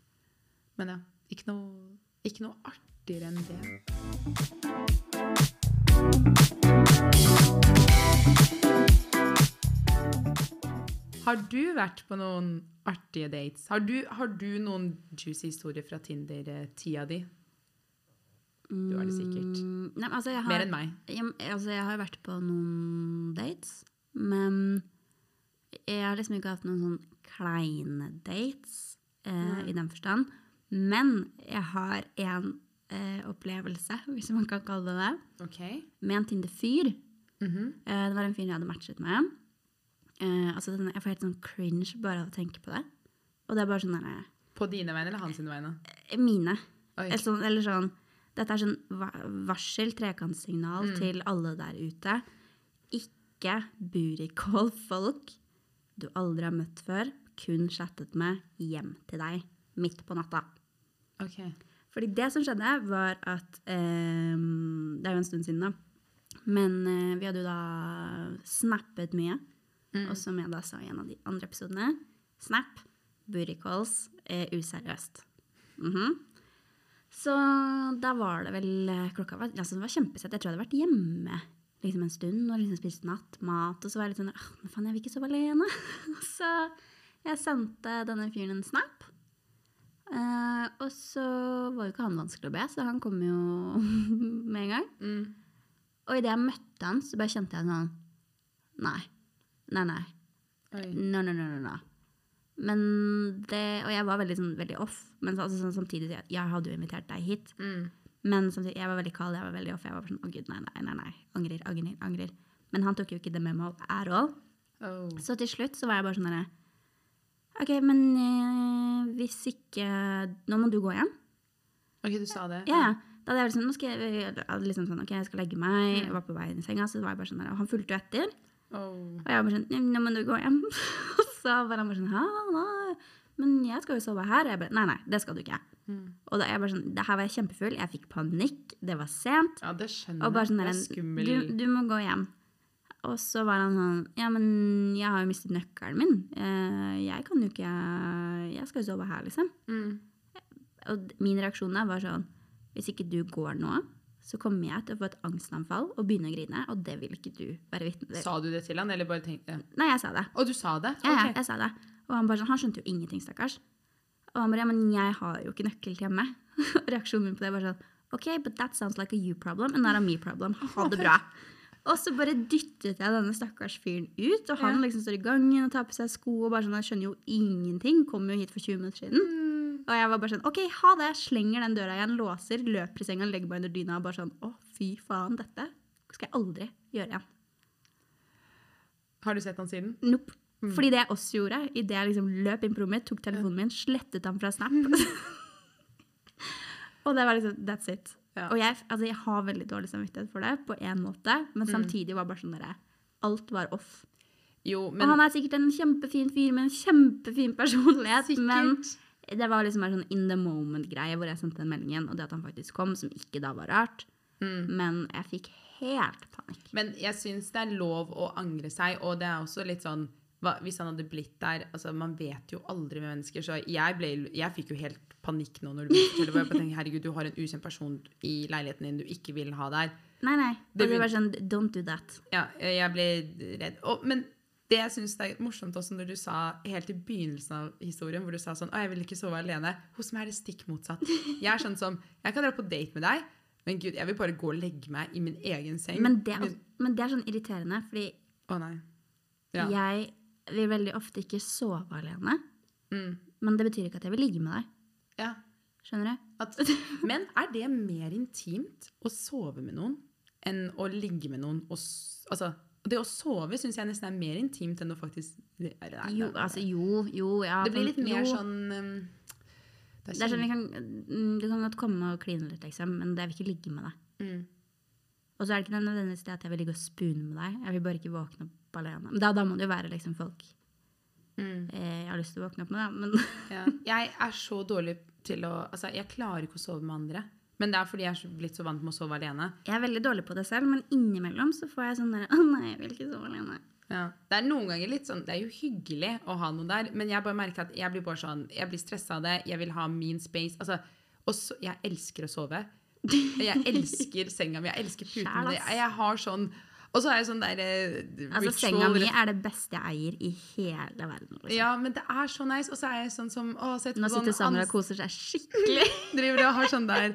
[SPEAKER 2] Men ja. Ikke noe, ikke noe artigere enn det. Har du vært på noen artige dates? Har du, har du noen juicy historier fra Tinder-tida di? Du har det sikkert.
[SPEAKER 1] Mm, Nei, men altså jeg har,
[SPEAKER 2] Mer enn meg.
[SPEAKER 1] Ja, men, altså jeg har vært på noen dates, men jeg har liksom ikke hatt noen sånn kleine dates eh, i den forstand. Men jeg har en eh, opplevelse, hvis man kan kalle det det,
[SPEAKER 2] OK.
[SPEAKER 1] med en Tinder-fyr.
[SPEAKER 2] Mhm.
[SPEAKER 1] Eh, det var en fyr jeg hadde matchet med. Eh, altså den, jeg får helt sånn cringe bare av å tenke på det. Og det er bare sånn der,
[SPEAKER 2] På dine vegne eller hans sine vegne?
[SPEAKER 1] eh, mine.
[SPEAKER 2] Oi.
[SPEAKER 1] Eller sånn, eller sånn Dette er sånn va- varsel, trekantsignal til alle der ute. Ikke burikål folk du aldri har møtt før, kun chattet med hjem til deg midt på natta.
[SPEAKER 2] OK.
[SPEAKER 1] Fordi det som skjedde, var at eh, Det er jo en stund siden, da. Men eh, vi hadde jo da snappet mye. Og som jeg da sa i en av de andre episodene, snap, buricalls, eh, useriøst. Mhm. Så da var det vel eh, Klokka var, altså det var kjempesett. Jeg tror jeg hadde vært hjemme liksom en stund og liksom spist nattmat. Og så var jeg litt sånn «Åh, Men faen, jeg vil ikke sove alene. så jeg sendte denne fyren en snap. Eh, og så var jo ikke han vanskelig å be, så han kom jo med en gang.
[SPEAKER 2] Mm.
[SPEAKER 1] Og idet jeg møtte han, så bare kjente jeg sånn Nei. Nei, nei.
[SPEAKER 2] Oi.
[SPEAKER 1] No, no, no, no, no. Men det, og jeg var veldig, sånn, veldig off. Men så, altså, sånn, samtidig så jeg, jeg hadde jo invitert deg hit.
[SPEAKER 2] Mm.
[SPEAKER 1] Men samtidig, jeg var veldig kald, jeg var veldig off. Jeg var bare sånn, å gud, nei, nei, nei, nei. Angrer, angrer, angrer. Men han tok jo ikke det med meg at all.
[SPEAKER 2] Oh.
[SPEAKER 1] Så til slutt så var jeg bare sånn derre OK, men eh, hvis ikke Nå må du gå hjem.
[SPEAKER 2] OK, du sa det?
[SPEAKER 1] Ja, ja. Da hadde jeg
[SPEAKER 2] Mm.
[SPEAKER 1] sånn liksom, nå skal jeg, jeg hadde liksom sånn, ok, jeg skal legge meg, jeg var på vei inn i senga, så var jeg bare sånn der, og han fulgte jo etter.
[SPEAKER 2] Åh.
[SPEAKER 1] Og jeg bare sånn «Nei, Nå må du gå hjem. Og så var han bare sånn Hæ, nei, men jeg skal jo sove her. Og jeg bare Nei, nei, det skal du ikke.
[SPEAKER 2] Mm.
[SPEAKER 1] Og da jeg bare sånn Det her var jeg kjempefull. Jeg fikk panikk. Det var sent.
[SPEAKER 2] Ja, det skjønner
[SPEAKER 1] Og bare sånn der,
[SPEAKER 2] jeg. Mm, Det er skummel.
[SPEAKER 1] du, du må gå hjem. Og så var han sånn Ja, men jeg har jo mistet nøkkelen min. Eh, Jeg kan jo ikke Jeg skal jo sove her, liksom.
[SPEAKER 2] Mm.
[SPEAKER 1] Og d- min reaksjon da var sånn Hvis ikke du går nå, så kommer jeg til å få et angstanfall og begynne å grine, og det vil ikke du være vitne til.
[SPEAKER 2] Sa du det til han, eller bare tenkte
[SPEAKER 1] Nei, jeg sa det.
[SPEAKER 2] Å, du sa det?
[SPEAKER 1] Ja, ja,
[SPEAKER 2] Ok.
[SPEAKER 1] jeg sa det. Og han bare sånn, han skjønte jo ingenting, stakkars. Og han bare, ja, men jeg har jo ikke nøkkel til hjemme. Og Reaksjonen min på det var sånn, ok, but that sounds like a you problem, and not a me problem. Ha det bra. Og så bare dyttet jeg denne stakkars fyren ut, og han
[SPEAKER 2] Ja.
[SPEAKER 1] liksom står i gangen og tar på seg sko, og bare sånn, jeg skjønner jo ingenting, kom jo hit for 20 minutter siden.
[SPEAKER 2] Mm.
[SPEAKER 1] Og jeg var bare sånn, ok, ha det, slenger den døra igjen, låser, løper i sengen, legger meg under dyna, og bare sånn, å fy faen, dette skal jeg aldri gjøre igjen.
[SPEAKER 2] Har du sett han siden?
[SPEAKER 1] Nope.
[SPEAKER 2] Mm.
[SPEAKER 1] Fordi det jeg også gjorde, idet jeg liksom løp inn på rommet mitt, tok telefonen min, slettet han fra Snap.
[SPEAKER 2] Mm.
[SPEAKER 1] og det var liksom That's it.
[SPEAKER 2] Ja.
[SPEAKER 1] Og jeg, altså, jeg har veldig dårlig samvittighet for det, på én måte,
[SPEAKER 2] Mm.
[SPEAKER 1] men samtidig var det bare sånn derre Alt var off.
[SPEAKER 2] Jo,
[SPEAKER 1] og
[SPEAKER 2] men
[SPEAKER 1] han er sikkert en kjempefin fyr med en kjempefin personlighet,
[SPEAKER 2] sikkert.
[SPEAKER 1] men det var liksom en sånn in the moment-greie hvor jeg sendte den meldingen, og det at han faktisk kom, som ikke da var rart.
[SPEAKER 2] Mm.
[SPEAKER 1] Men jeg fikk helt panikk.
[SPEAKER 2] Men jeg syns det er lov å angre seg, og det er også litt sånn hva, Hvis han hadde blitt der altså Man vet jo aldri med mennesker, så jeg, ble, jeg fikk jo helt panikk nå når du begynte å fortelle. hvor Jeg bare tenkte, herregud, du har en ukjent person i leiligheten din du ikke vil ha der.
[SPEAKER 1] Nei, nei.
[SPEAKER 2] Det
[SPEAKER 1] Og det
[SPEAKER 2] vil-
[SPEAKER 1] var sånn Don't do that.
[SPEAKER 2] Ja, eh, jeg ble redd. Og, men det jeg syns er morsomt også når du sa helt i begynnelsen av historien, hvor du sa sånn Å, jeg vil ikke sove alene. Hos meg er det stikk motsatt. Jeg er sånn som Jeg kan dra på date med deg, men gud, jeg vil bare gå og legge meg i min egen seng.
[SPEAKER 1] Men det, er,
[SPEAKER 2] Min-
[SPEAKER 1] al- men det er sånn irriterende, fordi
[SPEAKER 2] Å, nei. Ja.
[SPEAKER 1] jeg vil veldig ofte ikke sove alene.
[SPEAKER 2] Mm.
[SPEAKER 1] Men det betyr ikke at jeg vil ligge med deg.
[SPEAKER 2] ja.
[SPEAKER 1] Skjønner du?
[SPEAKER 2] At, men er det mer intimt å sove med noen enn å ligge med noen? Og, s- altså, det å sove syns jeg nesten er mer intimt enn å faktisk Nei, nei,
[SPEAKER 1] Jo,
[SPEAKER 2] nei.
[SPEAKER 1] altså, jo, jo, ja.
[SPEAKER 2] Det blir
[SPEAKER 1] men-
[SPEAKER 2] litt mer
[SPEAKER 1] jo.
[SPEAKER 2] sånn liksom. um,
[SPEAKER 1] Det er sånn, vi kan, mm, Du kan godt komme og kline litt, liksom, men jeg vil ikke ligge med deg.
[SPEAKER 2] Mm.
[SPEAKER 1] Og så er det ikke nødvendigvis det at jeg vil ligge og spune med deg. Jeg vil bare ikke våkne opp alene. Men da, da må det jo være liksom folk
[SPEAKER 2] Mm.
[SPEAKER 1] eh, jeg har lyst til å våkne opp med, da. Men
[SPEAKER 2] Ja. Jeg er så dårlig til å Altså, jeg klarer ikke å sove med andre. Men det er fordi jeg er så- blitt så vant med å sove alene.
[SPEAKER 1] jeg er veldig dårlig på det selv, men innimellom så får jeg sånn der Å nei, jeg vil ikke sove alene.
[SPEAKER 2] Ja. Det er noen ganger litt sånn Det er jo hyggelig å ha noen der, men jeg bare merker at jeg blir bare sånn Jeg blir stressa av det. Jeg vil ha min space. Altså, og så Jeg elsker å sove. Jeg elsker senga mi. Jeg elsker puten
[SPEAKER 1] Sjæl,
[SPEAKER 2] min.
[SPEAKER 1] ass.
[SPEAKER 2] Jeg har sånn Og så er jeg sånn der eh,
[SPEAKER 1] Altså,
[SPEAKER 2] ritual
[SPEAKER 1] senga mi
[SPEAKER 2] rett-
[SPEAKER 1] er det beste jeg eier i hele verden. Liksom.
[SPEAKER 2] Ja, men det er så nice. Og så er jeg sånn som å, sett
[SPEAKER 1] Nå
[SPEAKER 2] på sånn
[SPEAKER 1] sitter Sandra
[SPEAKER 2] ans-
[SPEAKER 1] og koser seg skikkelig.
[SPEAKER 2] Driver og har sånn der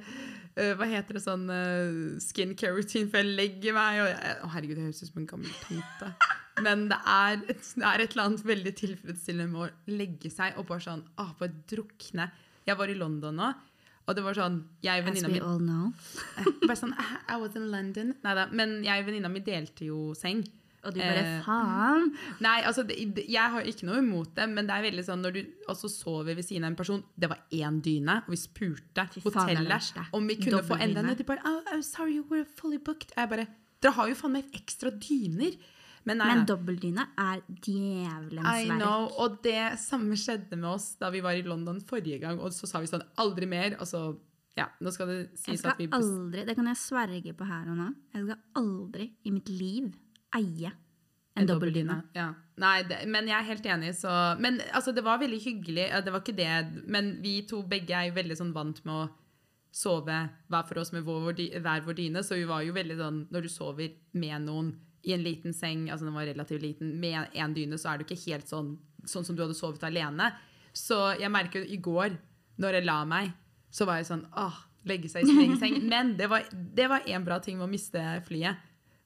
[SPEAKER 2] eh, Hva heter det sånn eh, skincare routine før jeg legger meg? Og jeg, å, herregud, jeg høres ut som en gammel tante. Men det er, et, det er et eller annet veldig tilfredsstillende med å legge seg og bare sånn ah, bare drukne. Jeg var i London nå, og det var sånn Jeg
[SPEAKER 1] As
[SPEAKER 2] og venninna
[SPEAKER 1] we
[SPEAKER 2] mi
[SPEAKER 1] all know.
[SPEAKER 2] Bare sånn I was in London. Neida, Men jeg og venninna mi delte jo seng.
[SPEAKER 1] Og du bare
[SPEAKER 2] Eh,
[SPEAKER 1] faen.
[SPEAKER 2] Nei, altså, det, det- jeg har ikke noe imot det, men det er veldig sånn når du også sover ved siden av en person Det var én dyne, og vi spurte
[SPEAKER 1] Fy faen, det er det
[SPEAKER 2] hotellet
[SPEAKER 1] verste.
[SPEAKER 2] om vi kunne få
[SPEAKER 1] Dobbeldyne.
[SPEAKER 2] enda en. Og de bare oh, I'm sorry, you were fully booked. Jeg bare Dere har jo faen meg ekstra dyner! Men nei.
[SPEAKER 1] Men
[SPEAKER 2] nei.
[SPEAKER 1] dobbeltdyne er
[SPEAKER 2] I
[SPEAKER 1] djevelens verk.
[SPEAKER 2] know. Og det samme skjedde med oss da vi var i London forrige gang, og så sa vi sånn aldri mer, og så Ja, nå skal det
[SPEAKER 1] Jeg
[SPEAKER 2] sies
[SPEAKER 1] skal
[SPEAKER 2] at vi bes-
[SPEAKER 1] aldri, det kan jeg sverge på her og nå, jeg skal aldri i mitt liv eie en dobbeltdyne.
[SPEAKER 2] Ja. Nei, det, men jeg er helt enig, så Men altså, det var veldig hyggelig, ja, det var ikke det Men vi to begge er jo veldig sånn vant med å sove hver for oss med vår, vår, dy- hver vår dyne, så vi var jo veldig sånn Når du sover med noen i en liten seng, altså den var relativt liten, med én dyne, så er du ikke helt sånn sånn som du hadde sovet alene. Så jeg merker jo i går, når jeg la meg, så var jeg sånn Åh, legge seg i sin egen seng. Men det var, det var en bra ting med å miste flyet.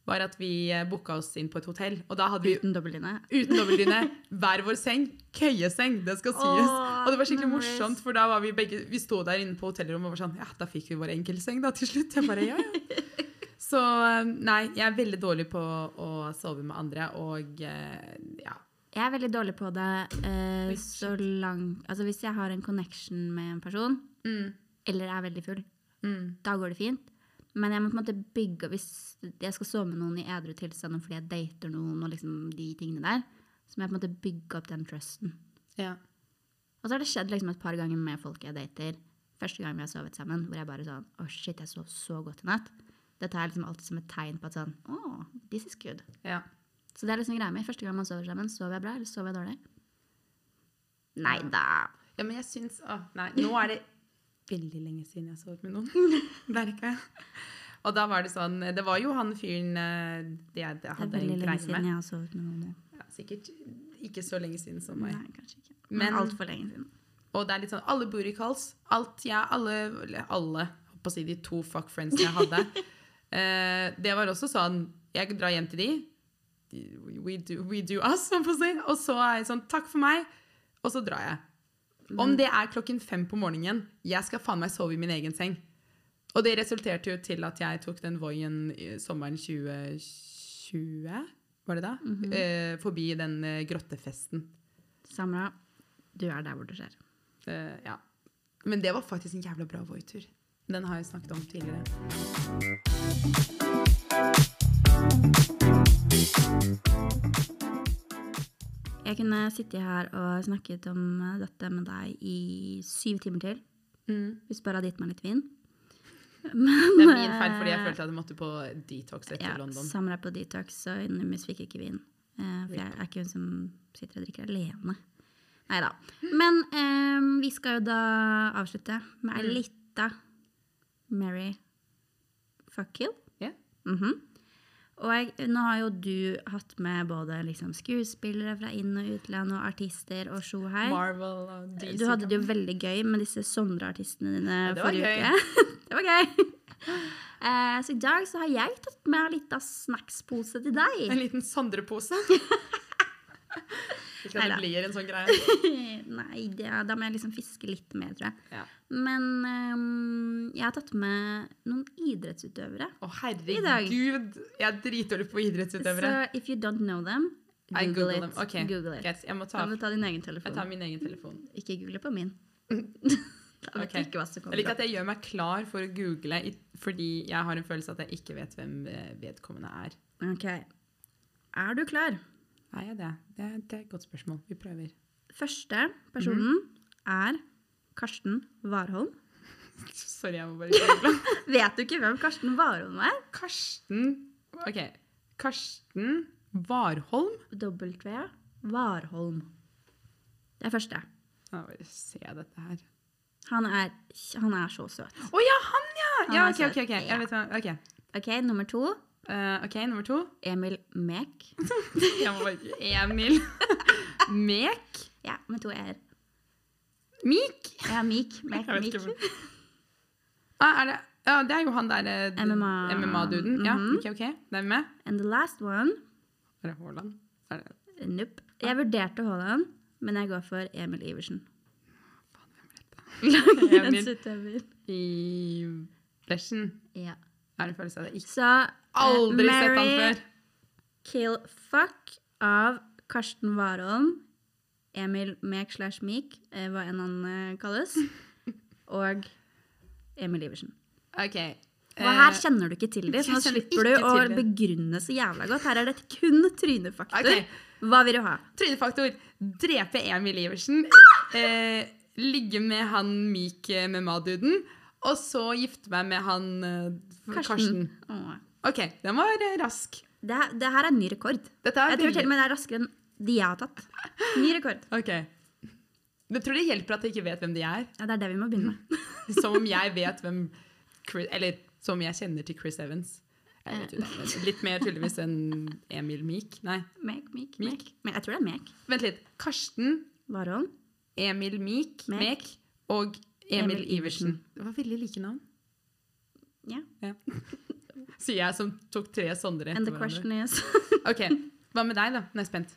[SPEAKER 2] Var at vi eh, booka oss inn på et hotell, og da hadde vi
[SPEAKER 1] Uten dobbeltdyne.
[SPEAKER 2] uten overdyne, hver vår seng. Køyeseng, det skal sies.
[SPEAKER 1] Åh,
[SPEAKER 2] og det var skikkelig
[SPEAKER 1] memories.
[SPEAKER 2] morsomt, for da var vi begge Vi sto der inne på hotellrommet og var sånn Ja, da fikk vi vår enkeltseng, da, til slutt. Jeg bare, ja, ja. Så eh, nei, jeg er veldig dårlig på å sove med andre, og eh, ja.
[SPEAKER 1] Jeg er veldig dårlig på det eh,
[SPEAKER 2] Oi,
[SPEAKER 1] så langt Altså hvis jeg har en connection med en person,
[SPEAKER 2] Mm,
[SPEAKER 1] eller er veldig full,
[SPEAKER 2] mm,
[SPEAKER 1] da går det fint. Men jeg må på en måte bygge Hvis jeg skal sove med noen i edru tilstand og fordi jeg dater noen, og liksom de tingene der, så må jeg på en måte bygge opp den trusten.
[SPEAKER 2] Ja.
[SPEAKER 1] Og så har det skjedd liksom et par ganger med folk jeg dater. Første gang vi har sovet sammen, hvor jeg bare sånn Å, shit, jeg sov så godt i natt. Det tar jeg liksom alltid som et tegn på at sånn Å, this is good.
[SPEAKER 2] ja.
[SPEAKER 1] Så det er liksom greia mi. Første gang man sover sammen, sover jeg bra, eller sover jeg dårlig? Nei da.
[SPEAKER 2] Ja, men jeg syns å, Nei, nå er det veldig lenge siden jeg har sovet med noen. Merka jeg. Og da var det sånn Det var jo han fyren eh, det jeg det
[SPEAKER 1] Det er
[SPEAKER 2] hadde en
[SPEAKER 1] veldig lenge
[SPEAKER 2] greie
[SPEAKER 1] siden
[SPEAKER 2] med.
[SPEAKER 1] jeg har sovet med noen.
[SPEAKER 2] Ja, sikkert ikke så lenge siden som meg.
[SPEAKER 1] Nei, kanskje ikke.
[SPEAKER 2] Men-
[SPEAKER 1] Men altfor lenge siden.
[SPEAKER 2] Og det er litt sånn alle booty calls. Alt jeg Alle eller alle holdt på å si de to fuck friends jeg hadde. eh, det var også sånn Jeg drar hjem til de. de- We do, we do us, holdt på å si. Og så er jeg sånn Takk for meg. Og så drar jeg. Om det er klokken fem på morgenen, jeg skal faen meg sove i min egen seng. Og det resulterte jo til at jeg tok den Voien i sommeren 2020, var det da? eh, forbi den eh, grottefesten.
[SPEAKER 1] Samra, du er der hvor det skjer.
[SPEAKER 2] Eh, ja. Men det var faktisk en jævla bra Voi-tur. Den har jeg snakket om tidligere.
[SPEAKER 1] Jeg kunne sittet her og snakket om eh, dette med deg i syv timer til. Hvis bare hadde gitt meg litt vin. Men,
[SPEAKER 2] Det er min feil,
[SPEAKER 1] eh,
[SPEAKER 2] fordi jeg følte at jeg måtte på detox etter
[SPEAKER 1] ja,
[SPEAKER 2] London.
[SPEAKER 1] Samra på detox, og Numis fikk ikke vin. Eh, for jeg er ikke hun som sitter og drikker alene. Nei da. Men eh, vi skal jo da avslutte med
[SPEAKER 2] Mm.
[SPEAKER 1] ei lita Mary fuck kill.
[SPEAKER 2] Ja.
[SPEAKER 1] Mhm. Og jeg, nå har jo du hatt med både liksom skuespillere fra inn- og utland og artister og sjo her.
[SPEAKER 2] Marvel og DC.
[SPEAKER 1] Du hadde det jo veldig gøy med disse Sondre-artistene dine
[SPEAKER 2] det var
[SPEAKER 1] forrige
[SPEAKER 2] gøy.
[SPEAKER 1] uke. det var gøy. Eh, Så i dag så har jeg tatt med en liten snackspose til deg.
[SPEAKER 2] En liten Sondre-pose. Ikke at
[SPEAKER 1] Neida.
[SPEAKER 2] det blir en sånn greie.
[SPEAKER 1] Nei, det, da må jeg liksom fiske litt mer, tror jeg.
[SPEAKER 2] Ja.
[SPEAKER 1] Men ehm, jeg har tatt med noen idrettsutøvere.
[SPEAKER 2] Å,
[SPEAKER 1] dag.
[SPEAKER 2] herregud! Jeg er dritdårlig på idrettsutøvere.
[SPEAKER 1] Så if you don't know them,
[SPEAKER 2] I
[SPEAKER 1] google,
[SPEAKER 2] Google
[SPEAKER 1] it.
[SPEAKER 2] dem. Ok,
[SPEAKER 1] Google it.
[SPEAKER 2] greit. Jeg må
[SPEAKER 1] Da
[SPEAKER 2] ta,
[SPEAKER 1] må du ta din egen
[SPEAKER 2] jeg tar
[SPEAKER 1] telefon.
[SPEAKER 2] min egen telefon.
[SPEAKER 1] Ikke google på min. da vet
[SPEAKER 2] Ok.
[SPEAKER 1] du ikke hva som
[SPEAKER 2] Jeg
[SPEAKER 1] kommer
[SPEAKER 2] liker
[SPEAKER 1] opp.
[SPEAKER 2] at jeg gjør meg klar for å google i- fordi jeg har en følelse at jeg ikke vet hvem eh, vedkommende er.
[SPEAKER 1] Ok. Er du klar?
[SPEAKER 2] Er jeg det? Det er, det er et godt spørsmål. Vi prøver.
[SPEAKER 1] Første personen
[SPEAKER 2] Mhm.
[SPEAKER 1] er Karsten Warholm.
[SPEAKER 2] Sorry, jeg må bare google.
[SPEAKER 1] Vet du ikke hvem Karsten Warholm er?
[SPEAKER 2] Karsten Ok. Karsten Warholm.
[SPEAKER 1] W. Warholm. Det er første.
[SPEAKER 2] Nå må jeg bare se dette her.
[SPEAKER 1] Han er, han er så søt.
[SPEAKER 2] Å ja, han, ja!
[SPEAKER 1] Han
[SPEAKER 2] Ja,
[SPEAKER 1] er
[SPEAKER 2] OK,
[SPEAKER 1] søt.
[SPEAKER 2] OK. ok.
[SPEAKER 1] Ja.
[SPEAKER 2] Jeg vet hva. Ok,
[SPEAKER 1] Ok, Nummer to
[SPEAKER 2] Eh, ok, nummer to.
[SPEAKER 1] Emil Mek.
[SPEAKER 2] Jeg må bare Emil. Mek.
[SPEAKER 1] Ja, med to r.
[SPEAKER 2] Mik.
[SPEAKER 1] Ja, Mik. Mek,
[SPEAKER 2] Jeg vet
[SPEAKER 1] Mik.
[SPEAKER 2] ikke hvor- Ah, er det Ja, det er jo han der eh,
[SPEAKER 1] MMA.
[SPEAKER 2] MMA-duden. Ja, OK, OK. Den er med.
[SPEAKER 1] And the last one
[SPEAKER 2] Er det Haaland? Er det
[SPEAKER 1] Nope. Jeg vurderte Haaland, men jeg går for Emil Iversen. Langrennsutøver.
[SPEAKER 2] I Bleschen.
[SPEAKER 1] Ja.
[SPEAKER 2] Er det følelse av det? Ikke
[SPEAKER 1] Så eh,
[SPEAKER 2] Aldri sett han
[SPEAKER 1] Mary
[SPEAKER 2] før.
[SPEAKER 1] Kill Fuck av Karsten Warholm, Emil Mek slash Mik, eh, hva enn han eh, kalles, og Emil Iversen.
[SPEAKER 2] Ok.
[SPEAKER 1] Og her kjenner du ikke til dem, så nå
[SPEAKER 2] Eh, jeg kjenner
[SPEAKER 1] slipper du
[SPEAKER 2] ikke
[SPEAKER 1] å
[SPEAKER 2] til de.
[SPEAKER 1] begrunne så jævla godt. Her er det kun trynefaktor.
[SPEAKER 2] Ok.
[SPEAKER 1] Hva vil du ha?
[SPEAKER 2] Trynefaktor. Drepe Emil Iversen. Eh, ligge med han Mik eh, med Maduden. Og så gifte meg med han eh, Karsten.
[SPEAKER 1] Karsten. Åh.
[SPEAKER 2] OK, den var eh, rask.
[SPEAKER 1] Det, her- det her er ny rekord.
[SPEAKER 2] Dette er
[SPEAKER 1] Jeg tror til og
[SPEAKER 2] veldig
[SPEAKER 1] med det er raskere enn de jeg har tatt. Ny rekord.
[SPEAKER 2] OK. Du tror det hjelper at jeg ikke vet hvem de er?
[SPEAKER 1] Ja, det er det vi må begynne med.
[SPEAKER 2] Som om jeg vet hvem Chris, Eller som om jeg kjenner til Chris Evans. Jeg vet jo det, men litt mer tydeligvis enn Emil Mik. Nei,
[SPEAKER 1] Mek, Mik,
[SPEAKER 2] Mik.
[SPEAKER 1] Mek. Men jeg tror det er Mek.
[SPEAKER 2] vent litt. Karsten
[SPEAKER 1] Warholm.
[SPEAKER 2] Emil Mik,
[SPEAKER 1] Mek.
[SPEAKER 2] Mek og Emil,
[SPEAKER 1] Emil
[SPEAKER 2] Iversen. Det var veldig like navn.
[SPEAKER 1] Ja.
[SPEAKER 2] Sier jeg som tok tre Sondre
[SPEAKER 1] And
[SPEAKER 2] etter
[SPEAKER 1] the
[SPEAKER 2] hverandre.
[SPEAKER 1] question is
[SPEAKER 2] Ok, Hva med deg, da? Nå er jeg spent.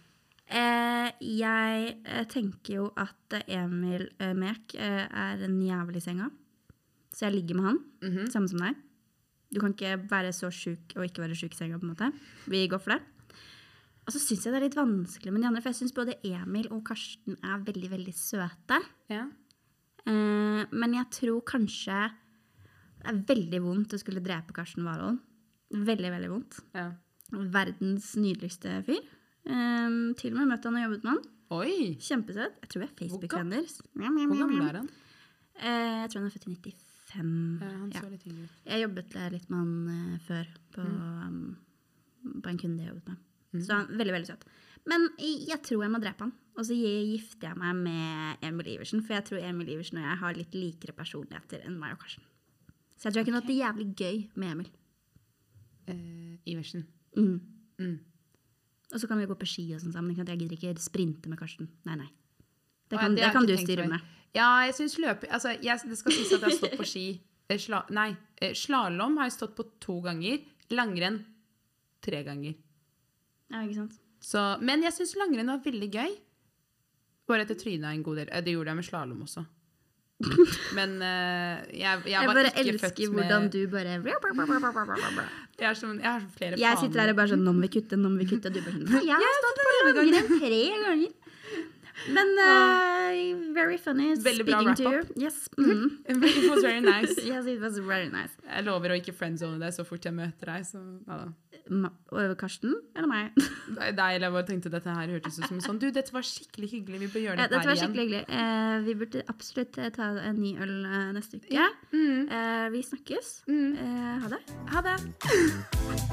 [SPEAKER 1] Eh, jeg eh, tenker jo at Emil eh, Mek eh, er en jævel i senga. Så jeg ligger med han, samme som deg. Du kan ikke være så sjuk og ikke være sjuk i senga, på en måte. Vi går for det. Og så syns jeg det er litt vanskelig med de andre, for jeg syns både Emil og Karsten er veldig, veldig søte.
[SPEAKER 2] Ja.
[SPEAKER 1] Eh, men jeg tror kanskje Det er veldig vondt å skulle drepe Karsten Warholm. Veldig, veldig vondt.
[SPEAKER 2] Ja.
[SPEAKER 1] Verdens nydeligste fyr. Ehm, til og med møtt han og jobbet med han.
[SPEAKER 2] Oi!
[SPEAKER 1] Kjempesøt. Jeg tror vi er Facebook-venner.
[SPEAKER 2] Hvor gammel er han?
[SPEAKER 1] Eh, jeg tror han er født i 95.
[SPEAKER 2] Ja, han
[SPEAKER 1] Ja.
[SPEAKER 2] så litt yngre ut.
[SPEAKER 1] Jeg jobbet eh, litt med han eh, før på,
[SPEAKER 2] Mm.
[SPEAKER 1] um, på en kunde jeg jobbet med. Så han er veldig, veldig søt. Men jeg jeg tror jeg må drepe han. Og så gi- gifter jeg meg med Emil Iversen, for jeg tror Emil Iversen og jeg har litt likere personligheter enn meg og Karsten. Så jeg tror jeg kunne hatt det jævlig gøy med Emil.
[SPEAKER 2] Eh, Iversen.
[SPEAKER 1] Mm.
[SPEAKER 2] Mm.
[SPEAKER 1] Og så kan vi gå på ski og sånn sammen. ikke sant? Jeg gidder ikke sprinte med Karsten. Nei, nei. Det kan,
[SPEAKER 2] Å, ja, det har
[SPEAKER 1] det
[SPEAKER 2] jeg
[SPEAKER 1] kan
[SPEAKER 2] ikke
[SPEAKER 1] du
[SPEAKER 2] tenkt
[SPEAKER 1] styre
[SPEAKER 2] meg.
[SPEAKER 1] med.
[SPEAKER 2] Ja, jeg syns løpe... Altså, jeg, det skal sies at jeg har stått på ski. Eh, Sla, nei, slalåm har jeg stått på to ganger. Langrenn tre ganger.
[SPEAKER 1] Ja, ikke sant?
[SPEAKER 2] Så, men jeg syns langrenn var veldig gøy. Bare etter tryna en god del. Eh, Det gjorde jeg med slalåm også. Men eh, jeg, jeg
[SPEAKER 1] Jeg
[SPEAKER 2] var
[SPEAKER 1] bare
[SPEAKER 2] ikke født
[SPEAKER 1] elsker
[SPEAKER 2] med
[SPEAKER 1] hvordan du bare
[SPEAKER 2] Jeg, er sånn, jeg har så flere
[SPEAKER 1] Jeg sitter her og bare sånn Nå må vi kutte, nå må vi kutte. Og du bare sånn «Nei, Jeg har stått på langrenn tre ganger. Men eh, very funny.
[SPEAKER 2] Veldig bra
[SPEAKER 1] Speaking
[SPEAKER 2] Mhm.
[SPEAKER 1] to you. Yes. Mm.
[SPEAKER 2] It was very nice.
[SPEAKER 1] yes, it was very nice.
[SPEAKER 2] Jeg lover å ikke friendzone deg så fort jeg møter deg. Så, ja da.
[SPEAKER 1] Ma og Karsten eller meg?
[SPEAKER 2] Deg, eller jeg bare tenkte dette her hørtes ut som en sånn Du, dette var skikkelig hyggelig, vi bør gjøre
[SPEAKER 1] Ja,
[SPEAKER 2] dette,
[SPEAKER 1] dette var
[SPEAKER 2] her igjen.
[SPEAKER 1] skikkelig hyggelig. Eh, vi burde absolutt eh, ta en ny øl eh, neste uke.
[SPEAKER 2] Mm.
[SPEAKER 1] Eh, vi snakkes.
[SPEAKER 2] Mm.
[SPEAKER 1] Eh, ha det.
[SPEAKER 2] Ha det.